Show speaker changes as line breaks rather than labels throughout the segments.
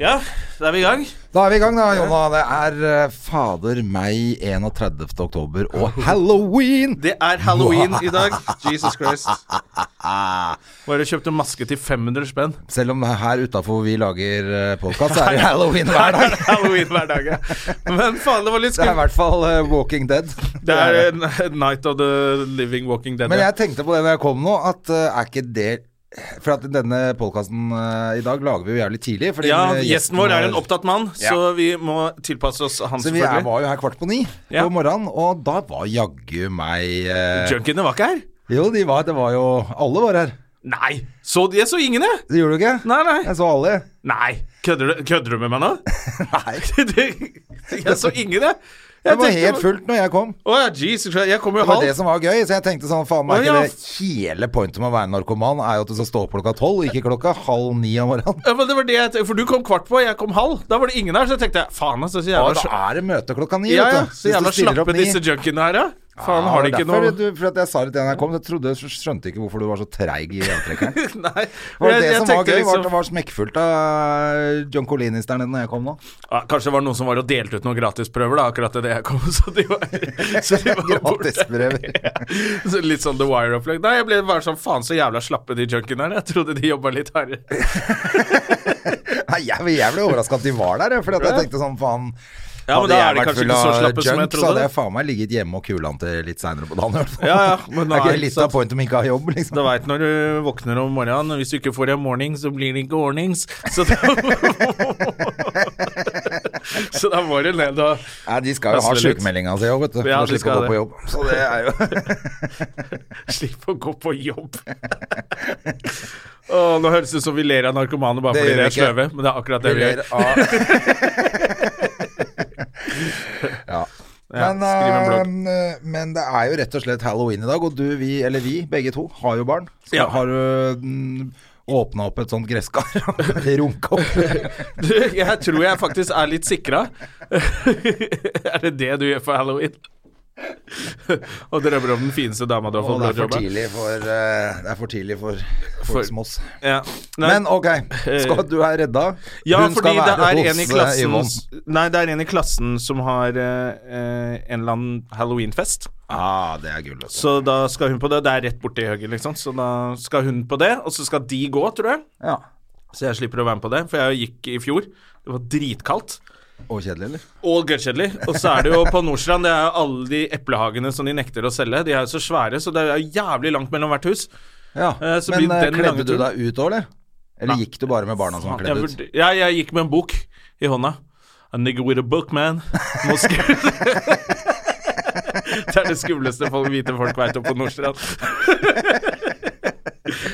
Ja, da er vi i gang.
Da er vi i gang, da, Jonna. Det er eh, fader meg 31. oktober og halloween!
Det er halloween i dag. Jesus Christ. Bare kjøpte maske til 500 spenn.
Selv om det er her utafor vi lager podkast, så er det halloween hver dag.
Halloween hver dag, ja. Men faen, det var litt
Det er i
skummelt.
hvert fall eh, Walking Dead.
Det er eh, Night of the Living Walking Dead.
Men
ja.
jeg tenkte på det når jeg kom nå, at eh, er ikke det For at denne podkasten i dag lager vi jo jævlig tidlig. Fordi
ja,
eh,
Gjesten vår er en opptatt mann, så
Ja.
vi må tilpasse oss han,
Så vi er,
selvfølgelig.
var jo her kvart på ni
Ja.
på morgenen, og da var jaggu meg eh,
Junkiene var ikke her.
Jo, de var, det var jo Alle var her.
Nei! Så de, jeg så ingen, jeg.
Det gjorde du ikke?
Nei, nei.
Jeg så alle.
nei. Kødder, du, kødder du med meg nå?
Nei.
Det- jeg så ingen, jeg.
Det
Jeg
var
tenkte-
helt fullt når jeg kom.
Å ja, Jesus Christ. Jeg kommer jo
Det var
halv.
det som var gøy, så jeg tenkte sånn faen
Å,
meg
ja.
ikke det Hele pointet med å være narkoman er jo at du skal stå opp klokka tolv, ikke klokka halv ni om morgenen.
Ja, men det var det jeg, tenkte, for du kom kvart på, jeg kom halv. Da var det ingen her, så jeg tenkte faen altså, så
Ja,
jævla,
da er det møte klokka ni,
ja, ja,
vet du.
så jævla slappe disse junkiene her, ja. Faen, har de ikke noe
du, For at jeg sa det til henne jeg kom, så trodde jeg skjønte ikke hvorfor du var så treig i avtrekkeren.
Nei.
Det var
jeg-
det
jeg
som var gøy,
tenkte
var
liksom-
at det var smekkfullt av John Colinis der nede når jeg kom nå.
ja, Kanskje det var noen som var og delte ut noen gratisprøver, da, akkurat det jeg kom, så de var, så de var borte.
Gratisbrev.
Så litt sånn The Wire-opplegg. Nei, jeg ble bare sånn faen så jævla slappe de junkiene her. Jeg trodde de jobba litt hardere.
Nei, jeg, jeg ble overraska at de var der, for jeg tenkte sånn faen
Ja, men
hadde
da
jeg
er de
vært
kanskje
full
ikke så
av
slappe som
junk,
jeg
Så hadde
trodde.
jeg faen meg ligget hjemme og kula han til litt seinere på dagen. i hvert fall.
Ja, ja, men
det er
nei,
ikke litt
sant.
av pointet med ikke å ha jobb, liksom.
Da veit når du våkner om morgenen, hvis du ikke får en morning, så blir det ikke ordnings. Så da, så da må du ned og
Nei, de skal jo ha
Passer litt.
sykemeldinga si òg, vet du. for
Ja,
å slippe
de
å
skal
gå på jobb. Så det er jo
Slipp å gå på jobb. Åh, nå høres det ut som vi ler av narkomane bare
Det gjør
fordi de
vi
er
ikke.
sløve, men det er akkurat det
Vi
vi gjør.
ler av Ja.
Ja,
Men,
skriv en
eh, men det er jo rett og slett halloween i dag, og du, vi, eller vi, begge to, har jo barn. Så
Ja.
har du mm, åpna opp et sånt gresskar og runka opp.
Du, jeg tror jeg faktisk er litt sikra. er det det du gjør for halloween? og drømmer om den fineste dama du
Og
har fått
det er for
blowjob av?
tidlig for, eh, det er for, tidlig for
For-
folk som oss.
Ja. Nei, Eh,
Men ok, skal du er redda.
ja,
Hun skal
fordi det
være
er
hos
en i
eh,
klassen
Yvonne.
Nei, det er en i klassen som har eh, eh, en eller annen halloweenfest.
Ah, det er gull. vet du.
Så da skal hun på det. Det er rett borti høyre, liksom. Så da skal hun på det, og så skal de gå, tror jeg.
Ja.
Så jeg slipper å være med på det, for jeg gikk i fjor. Det var dritkaldt
Og kjedelig, eller?
og gørrkjedelig. Og så er det jo på Nordstrand, det er jo alle de eplehagene som de nekter å selge. De er jo så svære, så det er jo jævlig langt mellom hvert hus.
Ja,
Eh, så
Men
blir
eh,
den lange
kledde du
turen.
deg ut òg, eller? Eller gikk du bare med barna som var
Jeg,
kledd ut?
vurd- ja, jeg gikk med en bok i hånda. A nigger with a book, man. Må skru- det er det skumleste folk, hvite folk veit om på Nordstrand.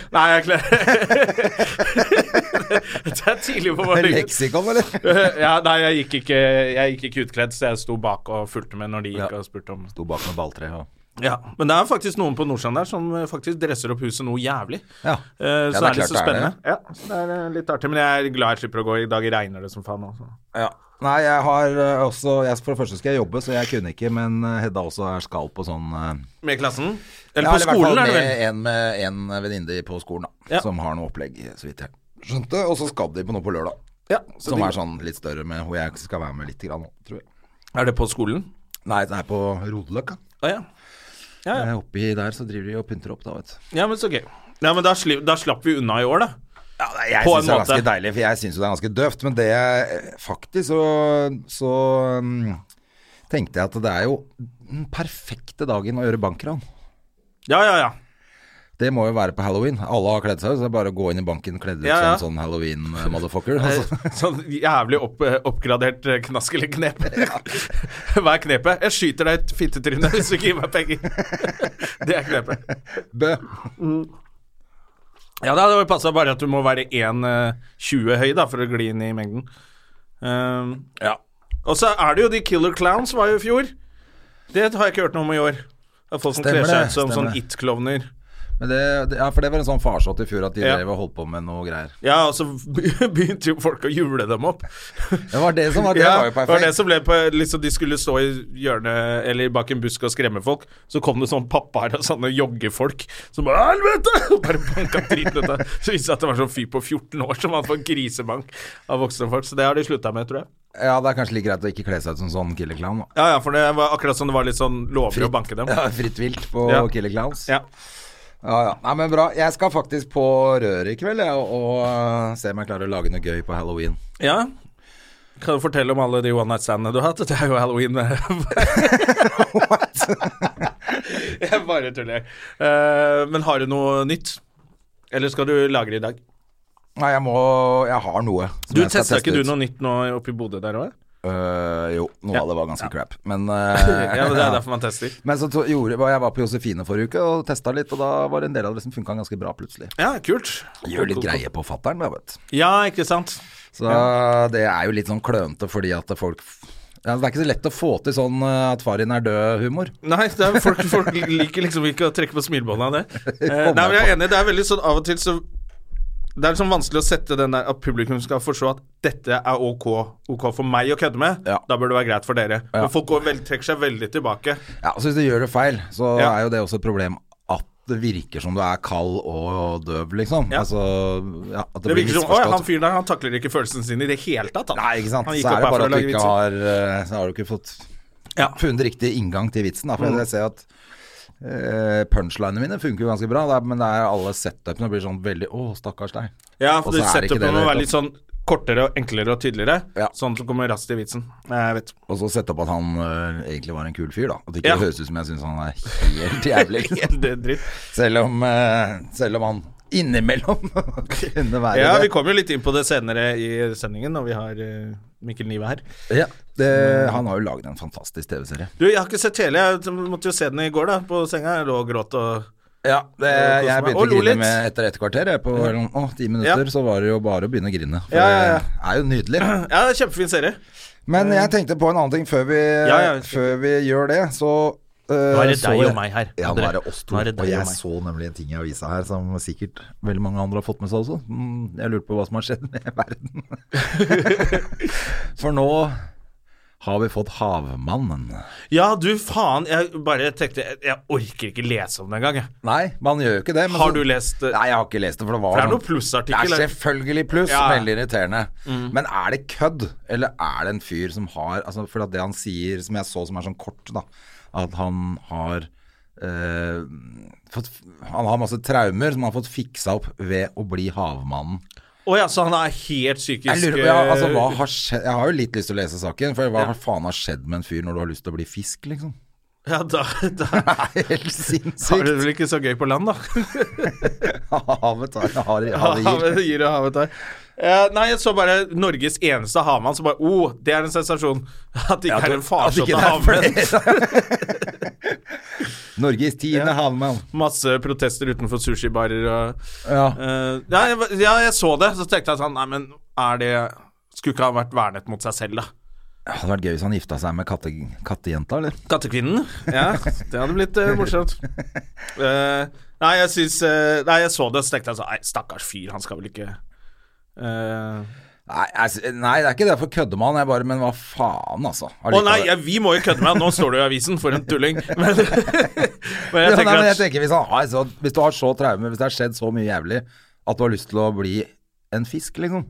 Nei, jeg kler Det er tidlig på
Med
morgenen. Eh.
leksikon, eller?
ja, nei, jeg gikk, ikke, jeg gikk ikke utkledd, så jeg sto bak og fulgte med når de gikk og spurte om
Sto bak med balltre og
Ja, Men det er faktisk noen på Nordstrand der som eh, faktisk dresser opp huset noe jævlig.
Ja.
Eh,
Ja,
så
det er
det er litt
klart
så
det er
spennende. Ja, så det er eh, litt artig, men jeg er glad jeg slipper å gå. I dag regner det som faen. Også.
Nei, jeg har eh, også jeg, For det første skal jeg jobbe, så jeg kunne ikke, men eh, Hedda også er skall på sånn eh,
Med klassen?
ja,
Eller på
i hvert fall
skolen, er det vel?
Med en, med en eh, venninne på skolen, da.
Ja.
Som har noe opplegg, så vidt jeg skjønte. Og så skal de på noe på lørdag.
Ja, så
Som
de-
er sånn litt større, med hvor jeg skal være med litt grann nå, tror jeg.
Er det på skolen?
Nei, det er på Rodeløkka.
Å ja. Ja, ja.
Eh, Oppi der så driver de og pynter opp, da, vet du.
ja, men så gøy. Ja, men da, sli, da slapp vi unna i år, da.
Ja, nei, jeg
På
syns det
en
er
måte.
ganske deilig, for jeg syns jo det er ganske døvt. Men det jeg- faktisk så, så mm, tenkte jeg at det er jo den perfekte dagen å gjøre bankran.
Ja, ja, ja.
Det må jo være på halloween. Alle har kledd seg ut, så det er bare å gå inn i banken kledd ut
Ja, ja.
som en sånn halloween-motherfucker. Altså.
Sånn jævlig opp, oppgradert eh, knask eller knep. Hva er knepet? Jeg skyter deg i et fittetryne hvis du ikke gir meg penger. Det er knepet.
Bø.
eh, Ja, det hadde passa bare at du må være 1,20 høy da for å gli inn i mengden. Ehm, ja. Og så er det jo de Killer Clowns var jo i fjor. Det har jeg ikke hørt noe om i år. At folk som
Stemmer
kler seg
det,
ut som
stemmer
sånn
det.
it-klovner.
Men det, det, ja, for det var en sånn farsott i fjor at de
Ja.
drev og holdt på med noe greier.
Ja, og så begynte jo folk å jule dem opp.
Det var det som var, det
ja,
var jo
det var det
perfekt.
som ble på, liksom, De skulle stå i hjørnet eller bak en busk og skremme folk. Så kom det sånn pappaer og sånne joggefolk som bare 'Helvete!' og bare banka driten ut av Så viste det seg at det var sånn fyr på 14 år som hadde fått grisebank av voksne folk. Så det har de slutta med, tror jeg.
Ja, det er kanskje like greit å ikke kle seg ut som sånn Killer Clown. da.
Ja, ja, for det var akkurat som det var litt sånn lovlig å banke dem.
Ja, fritt vilt på
Ja.
Killer Clowns.
Ja.
Ja, ja. Nei, men bra. Jeg skal faktisk på røret i kveld jeg, og, og øh, se om jeg klarer å lage noe gøy på halloween.
ja. Kan du fortelle om alle de one night standene du har hatt? Det er jo halloween. What? jeg bare tuller. Eh, men har du noe nytt? Eller skal du lagre i dag?
Nei, jeg må Jeg har noe. som
Du
jeg skal
testa ikke
teste
du
ut.
noe nytt nå oppe i Bodø der òg?
Øh, jo, noe
Ja.
av det var ganske crap, men øh,
Ja, men det er derfor man tester.
Men så to- gjorde, jeg var på Josefine forrige uke og testa litt, og da var det en del av det som funka ganske bra plutselig.
Ja, kult.
Gjør litt greie på fattern, vet du.
Ja, ikke sant.
Så det er jo litt sånn klønete fordi at folk ja, Det er ikke så lett å få til sånn eh, at far din er død-humor.
Nei, det er folk, folk liker liksom ikke å trekke på smilebåndet av det. Eh, nei, men jeg er enig, det er veldig sånn av og til så Det er liksom vanskelig å sette den der at publikum skal forstå at dette er ok, ok for meg å kødde med.
Ja.
Da bør det være greit for dere.
Ja.
Men folk går vel, trekker seg veldig tilbake.
Ja, så hvis du gjør det feil, så
Ja.
er jo det også et problem at det virker som du er kald og døv, liksom.
Ja.
Altså, ja, at det,
Det
blir
virker som Å, ja, han
misforstått.
fyren der, han takler ikke følelsene sine i det hele tatt. Han,
Nei, ikke sant.
han
Så er
gikk opp
det
her for
bare at
å
du
lage
ikke
vitser.
har eh, Så har du ikke fått
Ja. Mm.
funnet riktig inngang til vitsen. Da, for jeg ser at eh, punchlinene mine funker jo ganske bra, da, men det er alle setupene blir sånn veldig Å, stakkars deg.
Ja,
Og
for
så er det ikke det i
setupen må
det hele
være litt sånn kortere og enklere og tydeligere.
Ja.
Sånn at du kommer raskt i vitsen. Eh, Jeg vet.
Og så sette opp at han eh, egentlig var en kul fyr, da. At det ikke
Ja.
høres ut som jeg syns han er helt jævlig. Liksom.
Det er dritt.
selv, om, eh, selv om han innimellom kunne være
Ja, vi
det.
kommer jo litt inn på det senere i sendingen når vi har eh, Mikkel Nive her.
Ja, det. Han har jo laget en fantastisk TV-serie.
Du, jeg har ikke sett hele. Jeg måtte jo se den i går, da, på senga. Jeg lå og gråt og
Ja, det,
Det koser
Eh, jeg
meg.
begynte
Og
å
lo
grine
litt.
med etter et kvarter. Jeg, på sånn, å, ti minutter, så var det jo bare å begynne å grine. For
Ja, ja, ja.
det er jo nydelig.
Ja, det er en kjempefin serie.
Men jeg tenkte på en annen ting før vi,
Eh. Ja, ja.
før vi gjør det, så uh,
Nå er det deg og meg her.
Ja, nå
Andre.
er det oss to.
Nå er det deg
og
og
jeg
meg.
så nemlig en ting i avisa her som sikkert veldig mange andre har fått med seg også. Mm, Jeg lurte på hva som har skjedd med verden. For nå har vi fått Havmannen.
Ja, du faen. Jeg bare tenkte Jeg, jeg orker ikke lese om det engang, jeg.
Nei, man gjør jo ikke det. men
Har
så-
du lest eh,
Nei, jeg har ikke lest det, for det var
For det er
sånn-
noe plussartikkel,
Det
eller?
er selvfølgelig pluss,
Ja. Mm.
veldig irriterende. Men er det kødd, eller er det en fyr som har altså For at det han sier, som jeg så som er sånn kort, da, at han har eh, fått, han har masse traumer som han har fått fiksa opp ved å bli havmannen.
Å ja, så han er helt psykisk
Jeg lurer på, ja, altså, hva
eh,
har skjedd Jeg har jo litt lyst til å lese saken, for hva faen har skjedd med en fyr når du har lyst til å bli fisk, liksom?
eh, ja, da, da
Det er helt
har du
sinnssykt.
det vel ikke så gøy på land, da.
Havet tar har, har, har,
Havet gir og havet tar. Eh, nei, jeg så bare Norges eneste havmann som bare oh, det er en sensasjon. At det ikke er en
Altså,
farsott
ikke
av havmenn.
det er flere. Norges tiende havmann.
Masse protester utenfor sushibarer og
Ja.
Eh, ja, jeg, ja, jeg så det. Så tenkte jeg sånn Nei, men er det Skulle ikke ha vært vernet mot seg selv, da.
Det hadde vært gøy hvis han gifta seg med katte, kattejenta, eller?
Kattekvinnen? Ja, det hadde blitt eh, morsomt. Eh, nei, jeg syns eh, Nei, jeg så det, så tenkte jeg sånn Nei, stakkars fyr, han skal vel ikke eh,
Nei, jeg s- nei, det er ikke derfor kødder man, jeg bare Men hva faen, altså.
Å nei, jeg, vi må jo kødde med han. Nå står det jo i avisen, for en tulling. Men, men jeg
ja, nei,
tenker
men jeg
at
tenker hvis, han har, så, hvis du har så traume, hvis det har skjedd så mye jævlig at du har lyst til å bli en fisk, liksom.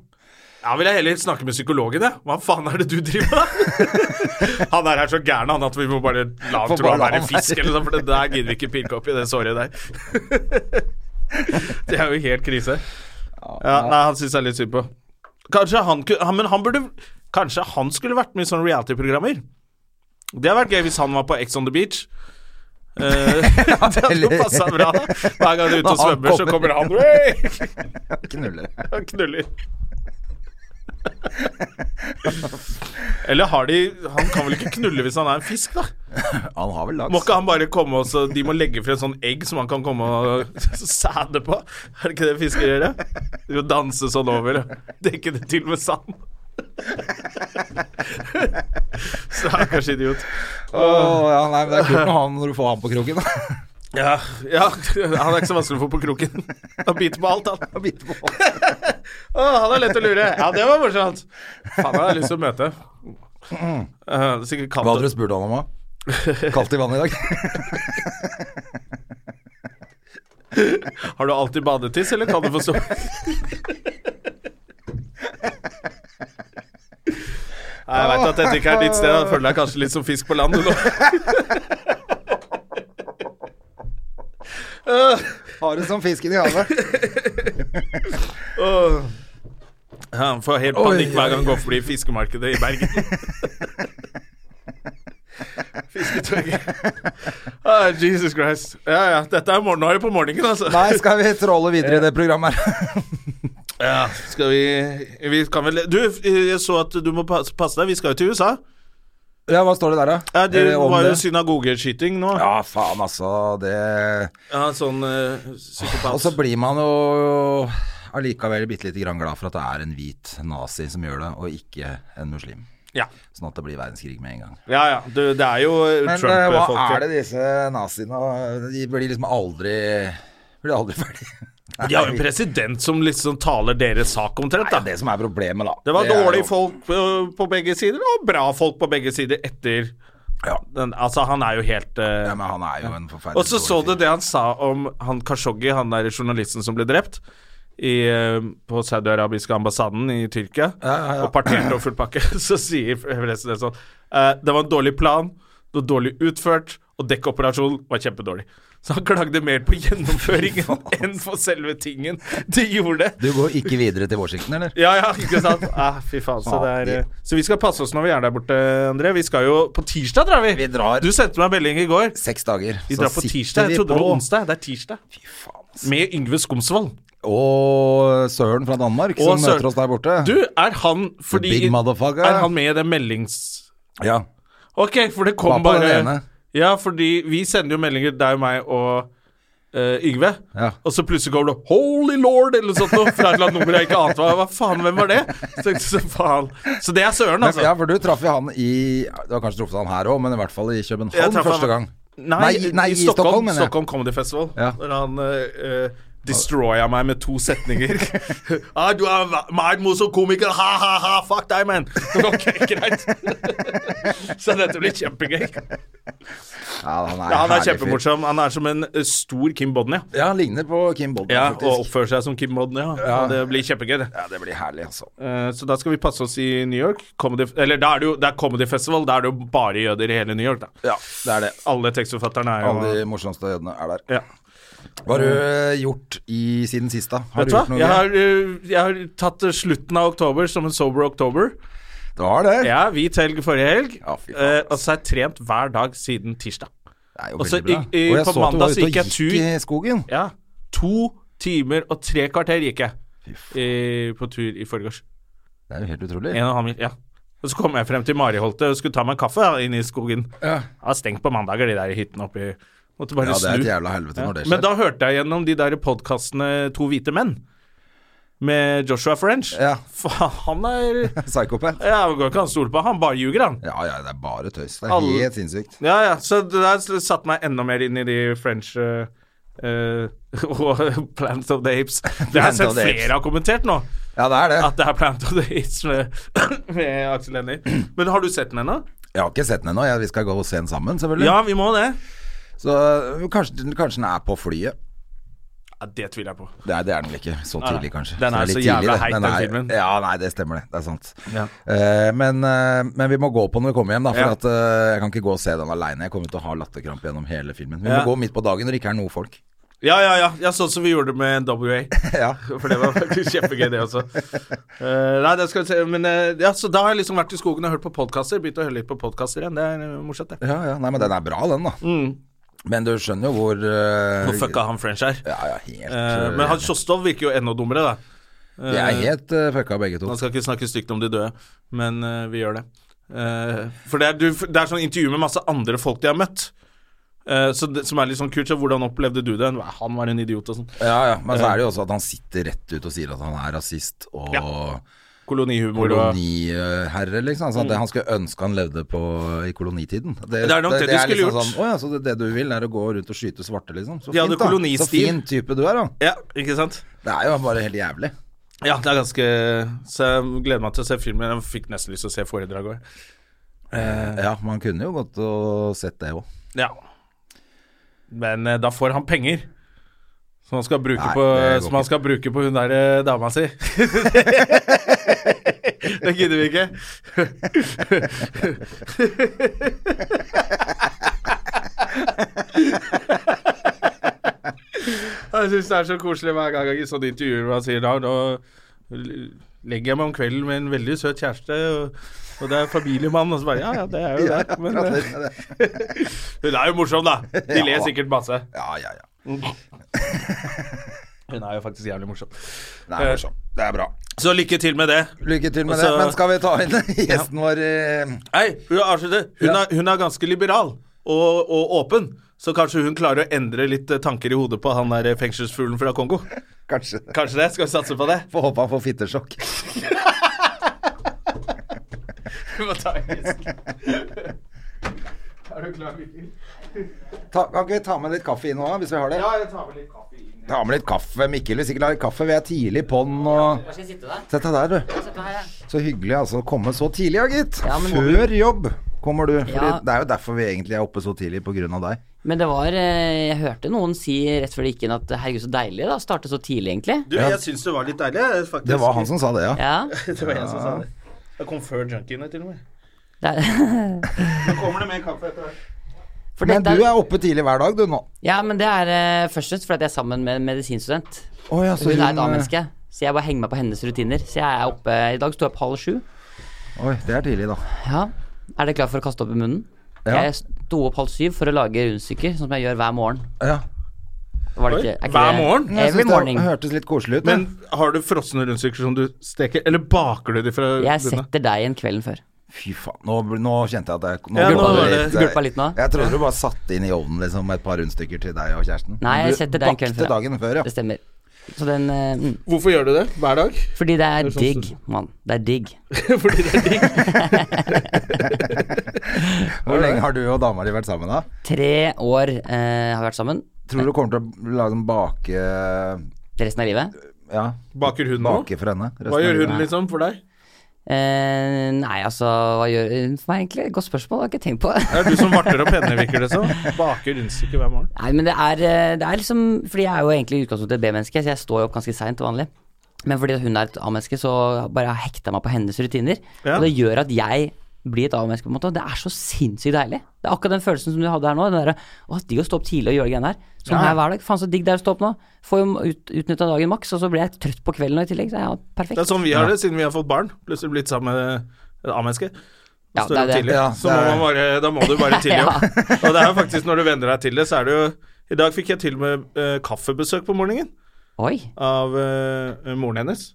Ja, vil jeg heller snakke med psykologen, jeg. Hva faen er det du driver med? han der er så gæren, han, at vi må bare la
Får
han tro
bare
han
la
er en
han
fisk,
være.
eller noe sånt, for det der gidder vi ikke pirke opp i det såret der. det er jo helt krise. Ja, nei, han syns jeg er litt synd på. Kanskje han ku- han- Men han burde Kanskje han skulle vært med i sånne reality-programmer? Det hadde vært gøy hvis han var på Ex on the beach. Eh, det hadde
eller-
passa bra. Hver gang du er ute og
Når han
svømmer, så
kommer-
kommer han «Hey!»
Knuller.
Han knuller. Eller har de Han kan vel ikke knulle hvis han er en fisk, da?
Han har vel
Må
laks.
ikke han bare komme og så De må legge frem et sånn egg som han kan komme og sæde på? Er det ikke det fisker gjør? det? De må danse sånn over og dekke det til med sand. Stakkars idiot.
Åh, ja, nei, men det er kult med han når du får han på kroken.
Ja, ja, han er ikke så vanskelig å få på kroken. Han biter på alt, han.
Og biter på folk.
Å, han er lett å lure. Ja, det var morsomt. Faen, han har jeg lyst til å møte. Eh, det er sikkert kaldt
Hva
og-
hadde du spurt han om, da? Kaldt i vannet i dag?
Har du alltid badetiss, eller kan du få stå Nei, jeg veit at dette ikke er ditt sted. Jeg føler deg kanskje litt som fisk på land, du nå.
Har du som fisken i havet?
Han får helt panikk hver gang han går forbi fiskemarkedet i Bergen. Fisketorget. Ah, Jesus Christ. Ja, ja. Dette er morgenhåret på morgenen, altså.
Nei, skal vi tråle videre i det programmet her?
Ja, skal vi Vi kan vel Du, jeg så at du må passe passe deg. Vi skal jo til USA.
Ja, hva står det der, da?
Ja, det
Eh, om
var jo
det?
synagogeskyting nå.
Ja, faen, altså. Det
Ja, sånn eh, psykopat.
Og så blir man jo allikevel bitte lite grann glad for at det er en hvit nazi som gjør det, og ikke en muslim.
ja.
Sånn at det blir verdenskrig med en gang.
ja, ja. Du, det er jo
Men eh, hva
Trump-folk.
er det disse naziene De blir liksom aldri Blir aldri ferdig.
De har jo en president som liksom taler deres sak omtrent,
Det er
da.
det som er problemet, da.
Det var
er
dårlige
jo-
folk på, på begge sider, og bra folk på begge sider etter
Ja.
den, Altså, han er jo helt eh,
ja, men han er jo en forferdelig
Og så så
dårlig
du det han sa om han Khashoggi, han der journalisten som ble drept i, eh, på saudi-arabiske ambassaden i Tyrkia, og parterte og full pakke, så sier presidenten sånn eh, Det var en dårlig plan, det var dårlig utført, og dekkoperasjonen var kjempedårlig. Så han klagde mer på gjennomføringen enn på selve tingen de gjorde.
fyr. Du går ikke videre til Washington, eller?
Ja, ja, ikke sant? Ah, fy faen, så, det er, eh, så vi skal passe oss når vi er der borte, André. Vi skal jo På tirsdag drar vi.
Vi drar.
Du sendte meg melding i går.
Seks dager.
Vi
så
drar på
sitter
tirsdag.
vi
Jeg trodde det
på-
var onsdag. Det er tirsdag.
Fy faen. ass.
Med Yngve Skomsvold.
Og Søren fra Danmark, som
Og Søren-
møter oss der borte.
Du, er han fordi
big motherfucker.
Er han med i den meldings...
Ja.
Ok, for det kom
Var på
bare
den ene.
Ja, fordi vi sender jo meldinger, deg, meg og eh, Yngve.
Ja.
Og så plutselig kommer det 'Holy Lord' eller noe sånt noe fra et eller annet nummer jeg ikke ante hva Hva faen, hvem var det? Så, tenkte jeg, så, faen. så det er Søren,
Men,
altså.
Ja, for du traff jo han i Du har kanskje truffet han her òg, men i hvert fall i
Jeg
København
traff
første
han-
gang.
Nei,
Nei, nei,
i
i
Stockholm,
Stockholm, mener jeg.
Stockholm Comedy Festival.
Ja.
Der han uh, destroya meg med to setninger. ah, 'Du er va- meg morsom komiker, ha-ha-ha, fuck deg, man'. Ok, greit. Så dette blir kjempegøy.
Ja, han er,
Ja, han er
herlig fyr.
kjempemorsom. Han er som en eh, stor Kim Bodnia.
Ja, han ligner på Kim Bolton,
Ja, og
faktisk.
oppfører seg som Kim Bodnia. Ja. Det blir kjempegøy, det.
Ja, det blir herlig, altså.
Eh, Så da skal vi passe oss i New York. Comedy, eller da er det jo det er Comedy Festival. Da er det jo bare jøder i hele New York, da.
Ja, det er det.
Alle tekstforfatterne er jo
Alle de morsomste jødene er der.
ja.
Hva har du eh, gjort i siden sist, da? Har
Vet
du
du hva?
gjort noe
Jeg
gøy?
har, uh, jeg har tatt uh, slutten av oktober som en sober oktober.
Du har det?
Ja, hvit helg forrige helg.
Ja, fy faen,
Eh,
ass.
og så har jeg trent hver dag siden tirsdag.
Det er jo
Og så
veldig bra.
Altså, i- i-
og jeg
på
så at du
mandag
var
så
ute og
gikk jeg
gikk
tur.
i skogen.
Ja. To timer og tre kvarter gikk jeg i, på tur i forgårs.
Det er jo helt utrolig.
En og en halv mil. Ja. Og så kom jeg frem til Mariholtet og skulle ta meg en kaffe ja, inne i skogen.
Ja.
Ja, stengt på mandager, de der hyttene oppi Måtte bare
Ja, det er
snu.
et jævla helvete når det
Men
skjer.
da hørte jeg gjennom de der podkastene To hvite menn med Joshua French.
Ja.
Faen, han er
Psykopat.
Ja, det går ikke an å stole på. Han bare ljuger, han.
Ja, ja, det er bare tøys. Det er
Alle-
helt sinnssykt.
Ja, ja. Så det der satte meg enda mer inn i de French eh, eh, og Planet of the Apes. Det har
Planet
jeg sett
of the Apes.
flere har kommentert nå,
Ja, det er det.
at det er Planet of the Apes med, med Aksel Hennie. Men har du sett den ennå?
Jeg har ikke sett den ennå. Jeg- Vi skal gå og se den sammen, selvfølgelig.
Ja, vi må det.
Så øh, kanskje, kanskje den er på flyet.
Ja, det tviler jeg på.
Det er, det er den vel ikke. Så
nei.
tidlig, kanskje.
Den er
det
så
litt
jævla
det.
heit, den filmen.
Ja, nei, det stemmer det. Det er sant.
Ja.
Eh, men, eh, men vi må gå på når vi kommer hjem, da. For
Ja.
at, eh, jeg kan ikke gå og se den aleine. Jeg kommer til å ha latterkrampe gjennom hele filmen. Vi
Ja.
må gå midt på dagen når det ikke er noe folk.
Ja, ja, ja. ja sånn som vi gjorde det med WA.
ja.
For det var faktisk kjempegøy, det også. Eh, nei, det skal vi se. Men eh, ja, så da har jeg liksom vært i skogen og hørt på podkaster. Begynt å høre litt på podkaster igjen. Det er eh, morsomt, det.
ja, ja. Nei, men den er bra, den, da. Men du skjønner jo hvor uh,
Mm. Hvor fucka han French er.
Ja, ja, helt
Eh,
eh,
men han Kjostov virker jo enda dummere, da.
De er helt eh, fucka, begge to.
Man skal ikke snakke stygt om de døde, men eh, vi gjør det. Eh, for det er, du, det er sånn intervju med masse andre folk de har møtt. eh, så det, som er litt sånn kult. Så hvordan opplevde du det? Han var en idiot og sånn.
Ja, ja. Men så er det jo også at han sitter rett ut og sier at han er rasist og
Kolonihumor og
koloniherre, liksom. Altså, det han skulle ønske han levde på i kolonitiden.
Mm. Det er nok det du skulle
liksom
gjort.
Sånn, «Å ja, så det, det du vil, er å gå rundt og skyte svarte, liksom. Så
De hadde
fint, da. Så
kolonistil.
fin type du er, da.
Ja, ikke sant?
Det er jo bare helt jævlig.
Ja, det er ganske Så jeg gleder meg til å se filmen. Jeg fikk nesten lyst til å se foredraget òg. Eh.
Ja, man kunne jo gått og sett det òg.
Ja. Men eh, da får han penger. Som han skal bruke,
Nei,
på,
det går
som han
ikke.
skal bruke på hun der eh, dama si. det gidder vi ikke. Jeg syns det er så koselig hver gang jeg i sånne intervjuer hvor han sier da, nå legger jeg meg om kvelden med en veldig søt kjæreste, og, og det er familiemann, og så bare ja, ja, det er jo det. Men eh, hun er jo morsom, da. De ler
Ja.
sikkert masse.
Ja, ja, ja.
Hun er jo faktisk jævlig morsom.
Det er, morsomt. det er bra.
Så lykke til med det.
Lykke til med
Eh. Og så-
det. Men skal vi ta inn gjesten vår eh,
Nei, hun avslutter. Hun,
Ja.
er, hun er ganske liberal og, og åpen, så kanskje hun klarer å endre litt eh, tanker i hodet på han der eh, fengselsfuglen fra Kongo.
Kanskje.
Kanskje det? Skal vi satse på det?
Får håpe han får fittesjokk.
Vi må ta en gjest. Er du klar, Mikkel?
Ta, kan ikke vi ta med litt kaffe inn nå, da, hvis vi har det?
Ja, jeg tar med litt kaffe inn.
Ta med litt kaffe, Mikkel. Hvis ikke lar kaffe, vi er tidlig på'n og
Skal jeg sitte der?
Sett deg der, du.
Sett meg her, jeg.
Så hyggelig altså å komme så tidlig, ja, gitt.
Ja, men må
Før jobb kommer du. Fordi
Ja.
Det er jo derfor vi egentlig er oppe så tidlig, på grunn av deg.
Men det var eh, Jeg hørte noen si rett før det gikk inn at herregud, så deilig da, å starte så tidlig, egentlig.
Du, jeg syns det var litt deilig, jeg, faktisk.
Det var han som sa det, ja.
Ja.
Det var jeg som sa det. Jeg kom før junkiene, til og med.
Det er,
Nå kommer det mer kaffe etter hvert.
for
Men
det-
du
det
er oppe tidlig hver dag, du nå.
Ja, men det er eh, først og fremst fordi at jeg er sammen med en medisinstudent.
Å ja,
Hun er et
eh,
A-menneske, så jeg bare henger meg på hennes rutiner. Så jeg er oppe I dag sto jeg opp halv sju.
eh, Oi, det er tidlig, da.
Ja. Er dere klar for å kaste opp i munnen?
Ja.
Jeg sto opp halv syv for å lage rundstykker, sånn som jeg gjør hver morgen.
Ja.
Var det
Oi,
ikke, er ikke
hver
det-
morgen?
Jeg
Every
synes
morning.
det hørtes litt koselig ut.
Men
Men
har du frosne rundstykker som du steker, eller baker du de fra
Jeg
bunnen av?
setter deg igjen kvelden før.
fy faen, nå, bl- nå kjente jeg at jeg
Ja, nå
gulpa
var
litt.
det- gulpa litt nå.
Jeg trodde du bare satte inn i ovnen liksom, et par rundstykker til deg og kjæresten.
Nei, jeg
Du
setter deg en kveld
bakte
før, ja.
dagen før,
Det
ja.
stemmer. Så den eh, mm.
Hvorfor gjør du det hver dag?
Fordi det er
Det er sånn
digg, mann. Det er digg.
Fordi det er digg.
Hvor lenge har du og dama di vært sammen, da?
Tre år eh, har vi vært sammen.
Tror du kommer til å la dem bake
Resten av livet.
Ja,
Baker hun nå?
bake for henne? resten
Hva
av
gjør
livet?
hun liksom for deg?
Eh, nei, altså Hva gjør hun for meg, egentlig? Godt spørsmål, har jeg ikke tenkt på.
Det er du som varter opp henne, virker det som. Baker rundstykker hver morgen.
Nei, men det er, eh, det er liksom Fordi jeg er jo egentlig i utgangspunktet et B-menneske, så jeg står jo opp ganske seint til vanlig. Men fordi hun er et A-menneske, så bare har jeg hekta meg på hennes rutiner.
Ja.
Og det gjør at jeg blir et A-menneske, på en måte. Og det er så sinnssykt deilig. Det er akkurat den følelsen som du hadde her nå. Den derre Å, digg å stå opp tidlig og gjøre de greiene her. Sånn her hver dag. Faen, så digg det er å stå opp nå. Får jo ut, utnytta dagen maks, og så blir jeg trøtt på kvelden nå i tillegg. Så ja, perfekt.
Det er sånn vi har det, siden vi har fått barn. Plutselig blitt sammen med et A-menneske.
Ja,
Står opp
det er det.
tidlig.
Ja,
Så
det
må
er-
man bare, da må du bare tilgi
Ja.
opp. Og det er jo faktisk, når du venner deg til det, så er det jo I dag fikk jeg til og med eh, kaffebesøk på morgenen
Oi.
av eh, moren hennes.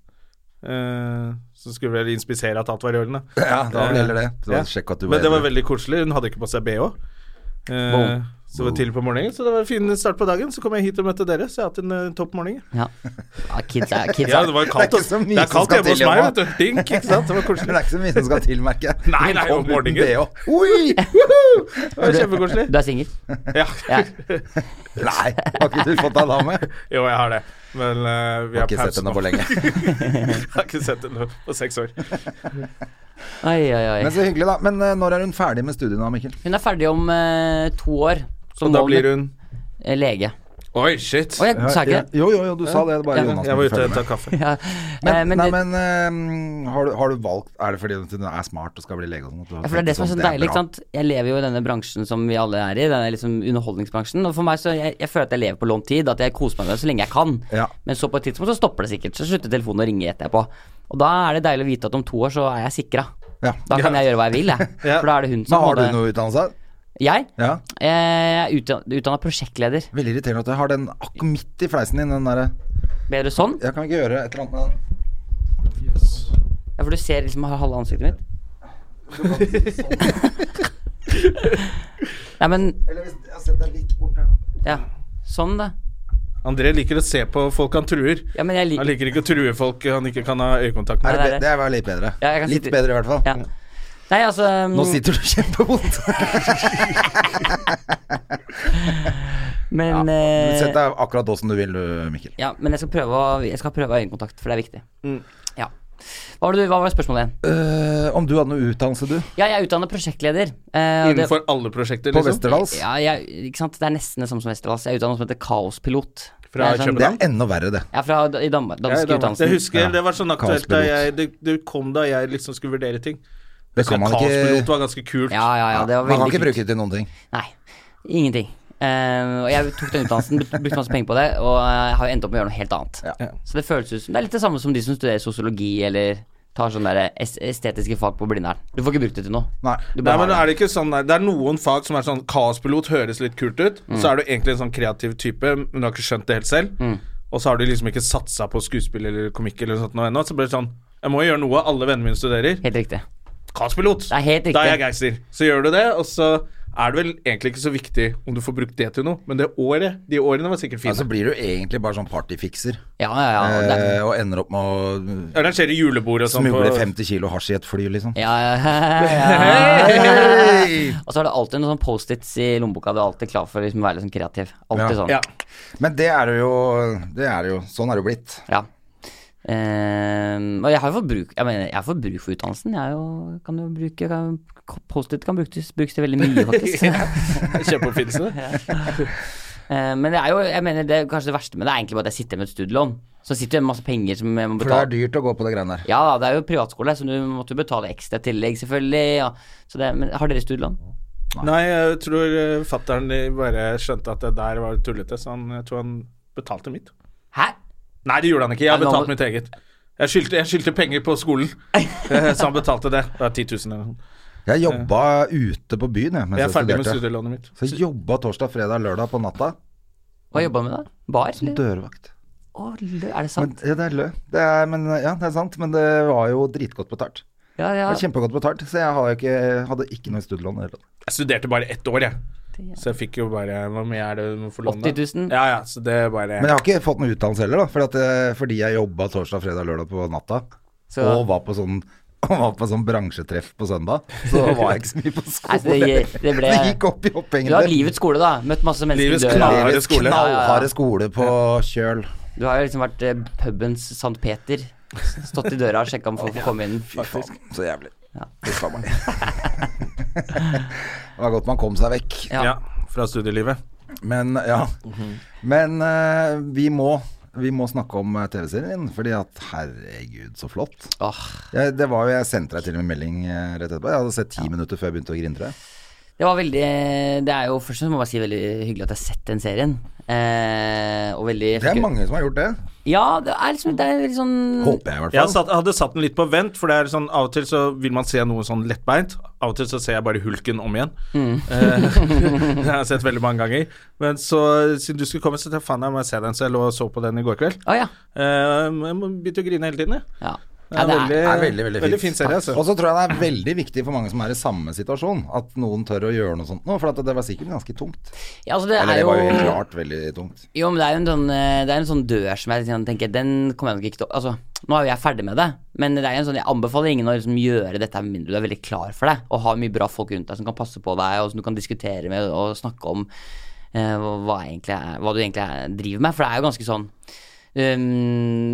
Eh, så skulle vel inspisere at alt var i orden, da.
Ja, da var det heller det. Eh, Så
Ja.
Sjekk at du
Men det var
edru.
veldig koselig. Hun hadde ikke på seg BH. Eh,
Wow.
så det var tidlig på morgenen, så det var en fin start på dagen. Så kom jeg hit og møtte dere, så jeg har hatt en eh, topp morgen.
Ja. ja kids er, kids
Ja,
er.
det var kaldt,
Det er ikke så
altså.
mye
Det er
som
kaldt
skal
hjemme hos
til,
meg,
ja.
vet du. Dink, ikke sant. Det var
Men det
koselig.
er ikke så mye som skal til, merker jeg.
Nei, nei,
Kom
om
uten
morgenen.
BH. Oi!
Det var kjempekoselig.
Du er singel?
Ja.
Ja.
Nei, har ikke du fått deg dame?
Jo, jeg har det. Men eh, vi
Har
har
ikke sett
pause
henne
nå.
på lenge.
Jeg har ikke sett henne på seks år.
Oi, oi, oi.
Men så hyggelig, da. Men eh, når er hun ferdig med studiene, da, Mikkel?
Hun er ferdig om eh, to år. Så
Og da blir hun
lege.
Oi, shit.
Å, jeg sa ikke det.
Jo, jo, jo, du sa det. det er bare
Ja.
Jonas
Jeg var ute og
følger med.
henta kaffe.
Ja.
Men,
eh, men
nei,
det,
men eh, har, du, har du valgt Er det fordi hun er smart og skal bli lege og sånn? at du har
ja, for det er det
tenkt
som er så
sånn, bra.
deilig. ikke sant? Jeg lever jo i denne bransjen som vi alle er i, denne liksom underholdningsbransjen. Og for meg så, jeg, jeg føler at jeg lever på lånt tid, at jeg koser meg med det så lenge jeg kan.
Ja.
Men så på et tidspunkt så stopper det sikkert, så slutter telefonen å ringe etterpå. Og da er det deilig å vite at om to år så er jeg sikra.
Ja.
Da kan jeg gjøre hva jeg vil, jeg.
Ja.
For da er det hun
Men
som
har du
både-
noe utdannelse?
Jeg?
Ja.
Eh, Jeg er utdanna prosjektleder.
Veldig irriterende at jeg har den akkurat midt i fleisen din, den derre
Bedre sånn?
Jeg kan ikke gjøre et eller annet med den.
Ja, for du ser liksom halve ansiktet mitt. Nei, men
Eller hvis jeg setter deg litt bort her, da.
Ja. Sånn, da.
André liker å se på folk han truer.
Ja, men jeg liker-
Han liker ikke å true folk han ikke kan ha øyekontakt
Er
med.
det,
Nei,
be-
det er-
det var litt bedre.
Ja, jeg kan
litt
sitte-
bedre i hvert fall.
Ja. Nei, altså
Nå sitter du kjempevondt.
Men eh,
Sett deg akkurat åssen du vil, du, Mikkel.
Ja, men jeg skal prøve å, jeg skal prøve å ha øyekontakt, for det er viktig. Ja. Hva var, det, du- hva var spørsmålet igjen?
Eh, om du hadde noe utdannelse, du?
Ja, jeg er utdannet prosjektleder. eh, og det-
Innenfor alle prosjekter,
På
liksom.
Westerdals?
Ja, jeg, ikke sant? Det er nesten det samme som Westerdals. Jeg er utdannet som heter kaospilot.
Fra
Det er sånn-
Det er enda verre, det.
Jeg er fra da- i Danmark,
Ja,
dansk
det var- jeg
utdannelse.
husker
Ja.
det var sånn aktuelt da
Kaospilot.
jeg det, det kom da jeg liksom skulle vurdere ting.
Det kan
Så
man
Kaospilot
ikke
var ganske kult.
Ja, ja, ja, det var
Man kan ikke
veldig kult.
bruke det til noen ting.
Nei, ingenting. Eh, og jeg tok den utdannelsen, bruk- brukte masse penger på det, og jeg har jo endt opp med å gjøre noe helt annet.
Ja.
Så det føles ut som Det er litt det samme som de som studerer sosiologi eller tar sånne der es estetiske fag på Blindern. Du får ikke brukt det til noe.
Nei.
Du bare
Nei, men
har
er det ikke sånn der- Det er noen fag som er sånn Kaospilot høres litt kult ut,
Mm.
så er du egentlig en sånn kreativ type, men du har ikke skjønt det helt selv.
Mm.
Og så har du liksom ikke satsa på skuespill eller komikk eller noe sånt nå ennå. Så blir det sånn Jeg må jo gjøre noe. Alle vennene mine studerer.
Helt riktig.
Kaospilot!
Det er helt riktig.
Da er jeg geister. Så gjør du det, og så er det vel egentlig ikke så viktig om du får brukt det til noe, men det året, de årene var sikkert fine.
Altså blir du egentlig bare sånn partyfikser
Ja, ja, ja. og Det,
eh, og ender opp med å
Arrangere julebord og sånn.
smugle
på-
50 kilo hasj i et fly, liksom.
Ja, ja, ja. Og så er det alltid noen sånne Post-its i lommeboka. Du er alltid klar for å liksom være litt sånn kreativ. Alltid
Ja.
sånn.
Ja.
Men det er det jo, det er det jo. Sånn er det jo blitt.
Ja. Ehm, og jeg har jo fått bruk Jeg mener, jeg får bruk for utdannelsen. Jeg er jo, kan jo bruke kan, Post-it kan brukes, brukes til veldig mye, faktisk.
Kjempeoppfinnelse.
Ehm, men det er jo Jeg mener, det er kanskje det verste med det er egentlig bare at jeg sitter med et studielån. Så sitter det med masse penger som jeg må
For det er
betale.
dyrt å gå på det greiene der.
Ja, da, det er jo privatskole, så du måtte jo betale ekstra i tillegg, selvfølgelig. Ja. Så det, men har dere studielån?
Nei, jeg tror eh, fattern bare skjønte at det der var tullete, så han, jeg tror han betalte mitt.
Hæ?
Nei, det gjorde han ikke. Jeg har
Nei, men han-
betalt mitt eget. Jeg skyldte, jeg skyldte penger på skolen, Eh, så han betalte det. Det er 10 000 eller noe.
Jeg jobba ute på byen jeg, mens
Jeg
jeg
er ferdig med
studerte.
studielånet mitt.
Så jeg jobba torsdag, fredag, lørdag på natta
Hva jobba du med da? Bar?
som
Eller?
dørvakt.
Å, lø- er
Men,
det sant?
ja, det er lø. Det er, men, ja, det er sant, men det var jo dritgodt betalt.
Ja, ja.
Det var Kjempegodt betalt, så jeg har jo ikke, hadde ikke noe studielån. i det hele tatt.
Jeg studerte bare ett år, jeg. Så jeg fikk jo bare Hvor mye er det du må få låne? da?
80 000?
Ja, ja, så det er bare
Men jeg har ikke fått noen utdannelse heller, da, fordi, at, eh, fordi jeg jobba torsdag, fredag, lørdag på natta.
Så-
Og var på sånn og var på sånn bransjetreff på søndag, så var jeg ikke så mye på skole.
Altså, det, det ble
Så gikk opp i
Du har
opphengende.
livets skole, da. Møtt masse mennesker
Livets
i døra.
knallharde
Livets
skole.
Ja, ja, ja.
knallharde skole på Kjøl.
Du har jo liksom vært eh, pubens St. Peter. Stått i døra og sjekka om folk får komme inn.
Fy faen, så jævlig. Fy faen meg. det var godt man kom seg vekk.
Ja. Mhm.
Ja, fra studielivet.
Men ja. Men eh, vi må vi må snakke om eh, TV-serien din, fordi at herregud, så flott.
Åh,
Jeg, det var jo, jeg sendte deg til og med en melding eh, rett etterpå. Jeg hadde sett ti minutter før jeg begynte å grindre.
det var veldig eh, Det er jo først og fremst må jeg bare si veldig hyggelig at jeg har sett den serien. Eh, og veldig
Det er mange som har gjort det.
Ja, det er liksom Det er veldig sånn
Håper jeg, i hvert
Jeg
fall.
satt, hadde satt den litt på vent, for det er sånn, av og til så vil man se noe sånn lettbeint. Av og til så ser jeg bare hulken om igjen. Eh, det har jeg sett veldig mange ganger. Men så siden du skulle komme, så tenkte jeg faen, jeg må se den, så jeg lå og så på den i går kveld.
Å ja.
Eh, jeg må begynte å grine hele tiden, jeg.
ja.
Det er,
Ja, det
Det
veldig,
er,
er veldig, veldig, fint.
fin serie, altså.
Og så tror jeg det er veldig viktig for mange som er i samme situasjon, at noen tør å gjøre noe sånt nå. For at det var sikkert ganske tungt.
ja, altså det
Eller
er
det
jo
var jo helt klart veldig tungt.
Jo, men det er jo en sånn, eh, det er en sånn dør som jeg liksom tenker Den kommer jeg nok ikke til å Altså, nå er jo jeg ferdig med det, men det er jo en sånn, jeg anbefaler ingen å liksom gjøre dette med mindre du er veldig klar for det, og har mye bra folk rundt deg som kan passe på deg, og som du kan diskutere med og snakke om eh, hva, hva egentlig er, hva du egentlig er, driver med. For det er jo ganske sånn eh,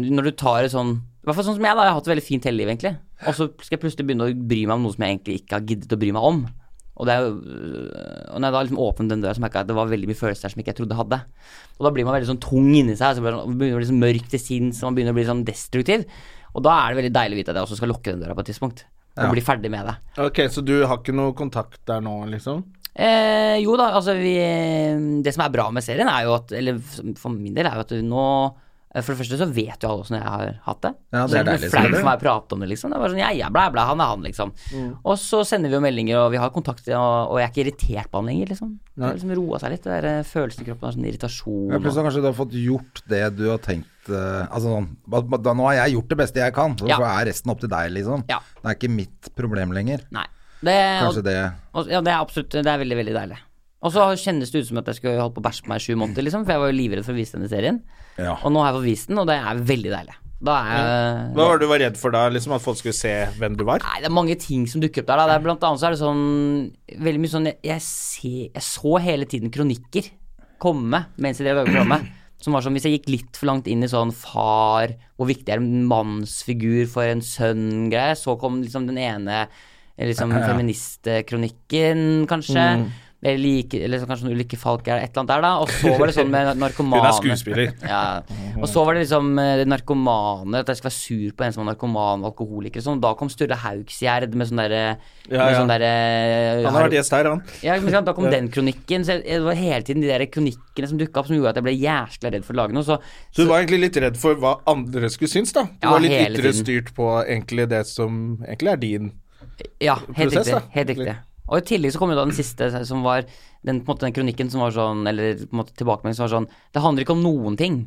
Når du tar et sånn I hvert fall sånn som jeg, da. Jeg har hatt det veldig fint hele livet, egentlig. Og så skal jeg plutselig begynne å bry meg om noe som jeg egentlig ikke har giddet å bry meg om. Og det er jo øh, Og når jeg da liksom åpnet den døra, så merka jeg at det var veldig mye følelser der som ikke jeg trodde jeg hadde. Og da blir man veldig sånn tung inni seg, så blir man begynner å bli sånn mørk til sinns, og man begynner å bli sånn destruktiv. Og da er det veldig deilig å vite at jeg også skal lukke den døra på et tidspunkt. Og bli ferdig med det.
Ok, så du har ikke noe kontakt der nå, liksom?
Eh, jo da, altså vi Det som er bra med serien, er jo at Eller for min del er jo at du nå eh, for det første så vet jo alle åssen jeg har hatt det.
Ja, det
så
er
det er
deilig,
ikke noe flaut
selvfølgelig. Mm.
for meg å prate om det, liksom. Det er bare sånn, ja, ja, blæ, blæ, han er han, liksom. Og så sender vi jo meldinger, og vi har kontakt, og, og jeg er ikke irritert på han lenger, liksom. Det har liksom roa seg litt, det der eh, følelsen i kroppen av sånn irritasjon.
Ja, Plutselig kanskje du har fått gjort det du har tenkt eh, Altså sånn ba- ba- da, Nå har jeg gjort det beste jeg kan, så
Ja.
er resten opp til deg, liksom.
Ja.
Det er ikke mitt problem lenger.
og, nei. Det,
Kanskje
og,
det
og, ja, det er absolutt Det er veldig, veldig deilig. Og så kjennes det ut som at jeg skulle holdt på å bæsje på meg i sju måneder, liksom, for jeg var jo livredd for å vise denne serien.
Ja.
Og nå har jeg fått vist den, og det er veldig deilig. Da er jeg
Hva var det du var redd for da? Liksom At folk skulle se hvem du var?
Nei, det er mange ting som dukker opp der. Da. Det er, blant annet så er det sånn Veldig mye sånn Jeg, jeg, ser, jeg så hele tiden kronikker komme mens jeg drev og lagde programmet. Som var sånn, Hvis jeg gikk litt for langt inn i sånn far, hvor viktig er en mannsfigur for en sønn-greie, så kom liksom den ene eh, liksom, feministkronikken, kanskje.
Mm.
Eller, like, eller så kanskje noen Ulrikke Falk er et eller annet der, da. Og så var det sånn med narkomane.
Hun er skuespiller.
Ja. Og så var det liksom eh, det narkomane, at jeg skulle være sur på en som var narkoman og alkoholiker og sånn. Da kom Sturle Haugsgjerd med sånn derre
Ja,
med
ja.
sånn derre
Han har vært gjest her, han.
ja, men sant, Da kom den kronikken. Så jeg, det var hele tiden de der kronikkene som dukka opp som gjorde at jeg ble jæskla redd for å lage noe. Så,
Så du var egentlig litt redd for hva andre skulle synes, da? Du
Ja,
var litt
hele
ytre
tiden.
styrt på egentlig det som egentlig er din
ja, helt
prosess, da.
riktig. Helt riktig. Og i tillegg så kom jo da den siste som var den, på en måte, den kronikken som var sånn, eller på en måte tilbakemeldingen som var sånn Det handler ikke om noen ting.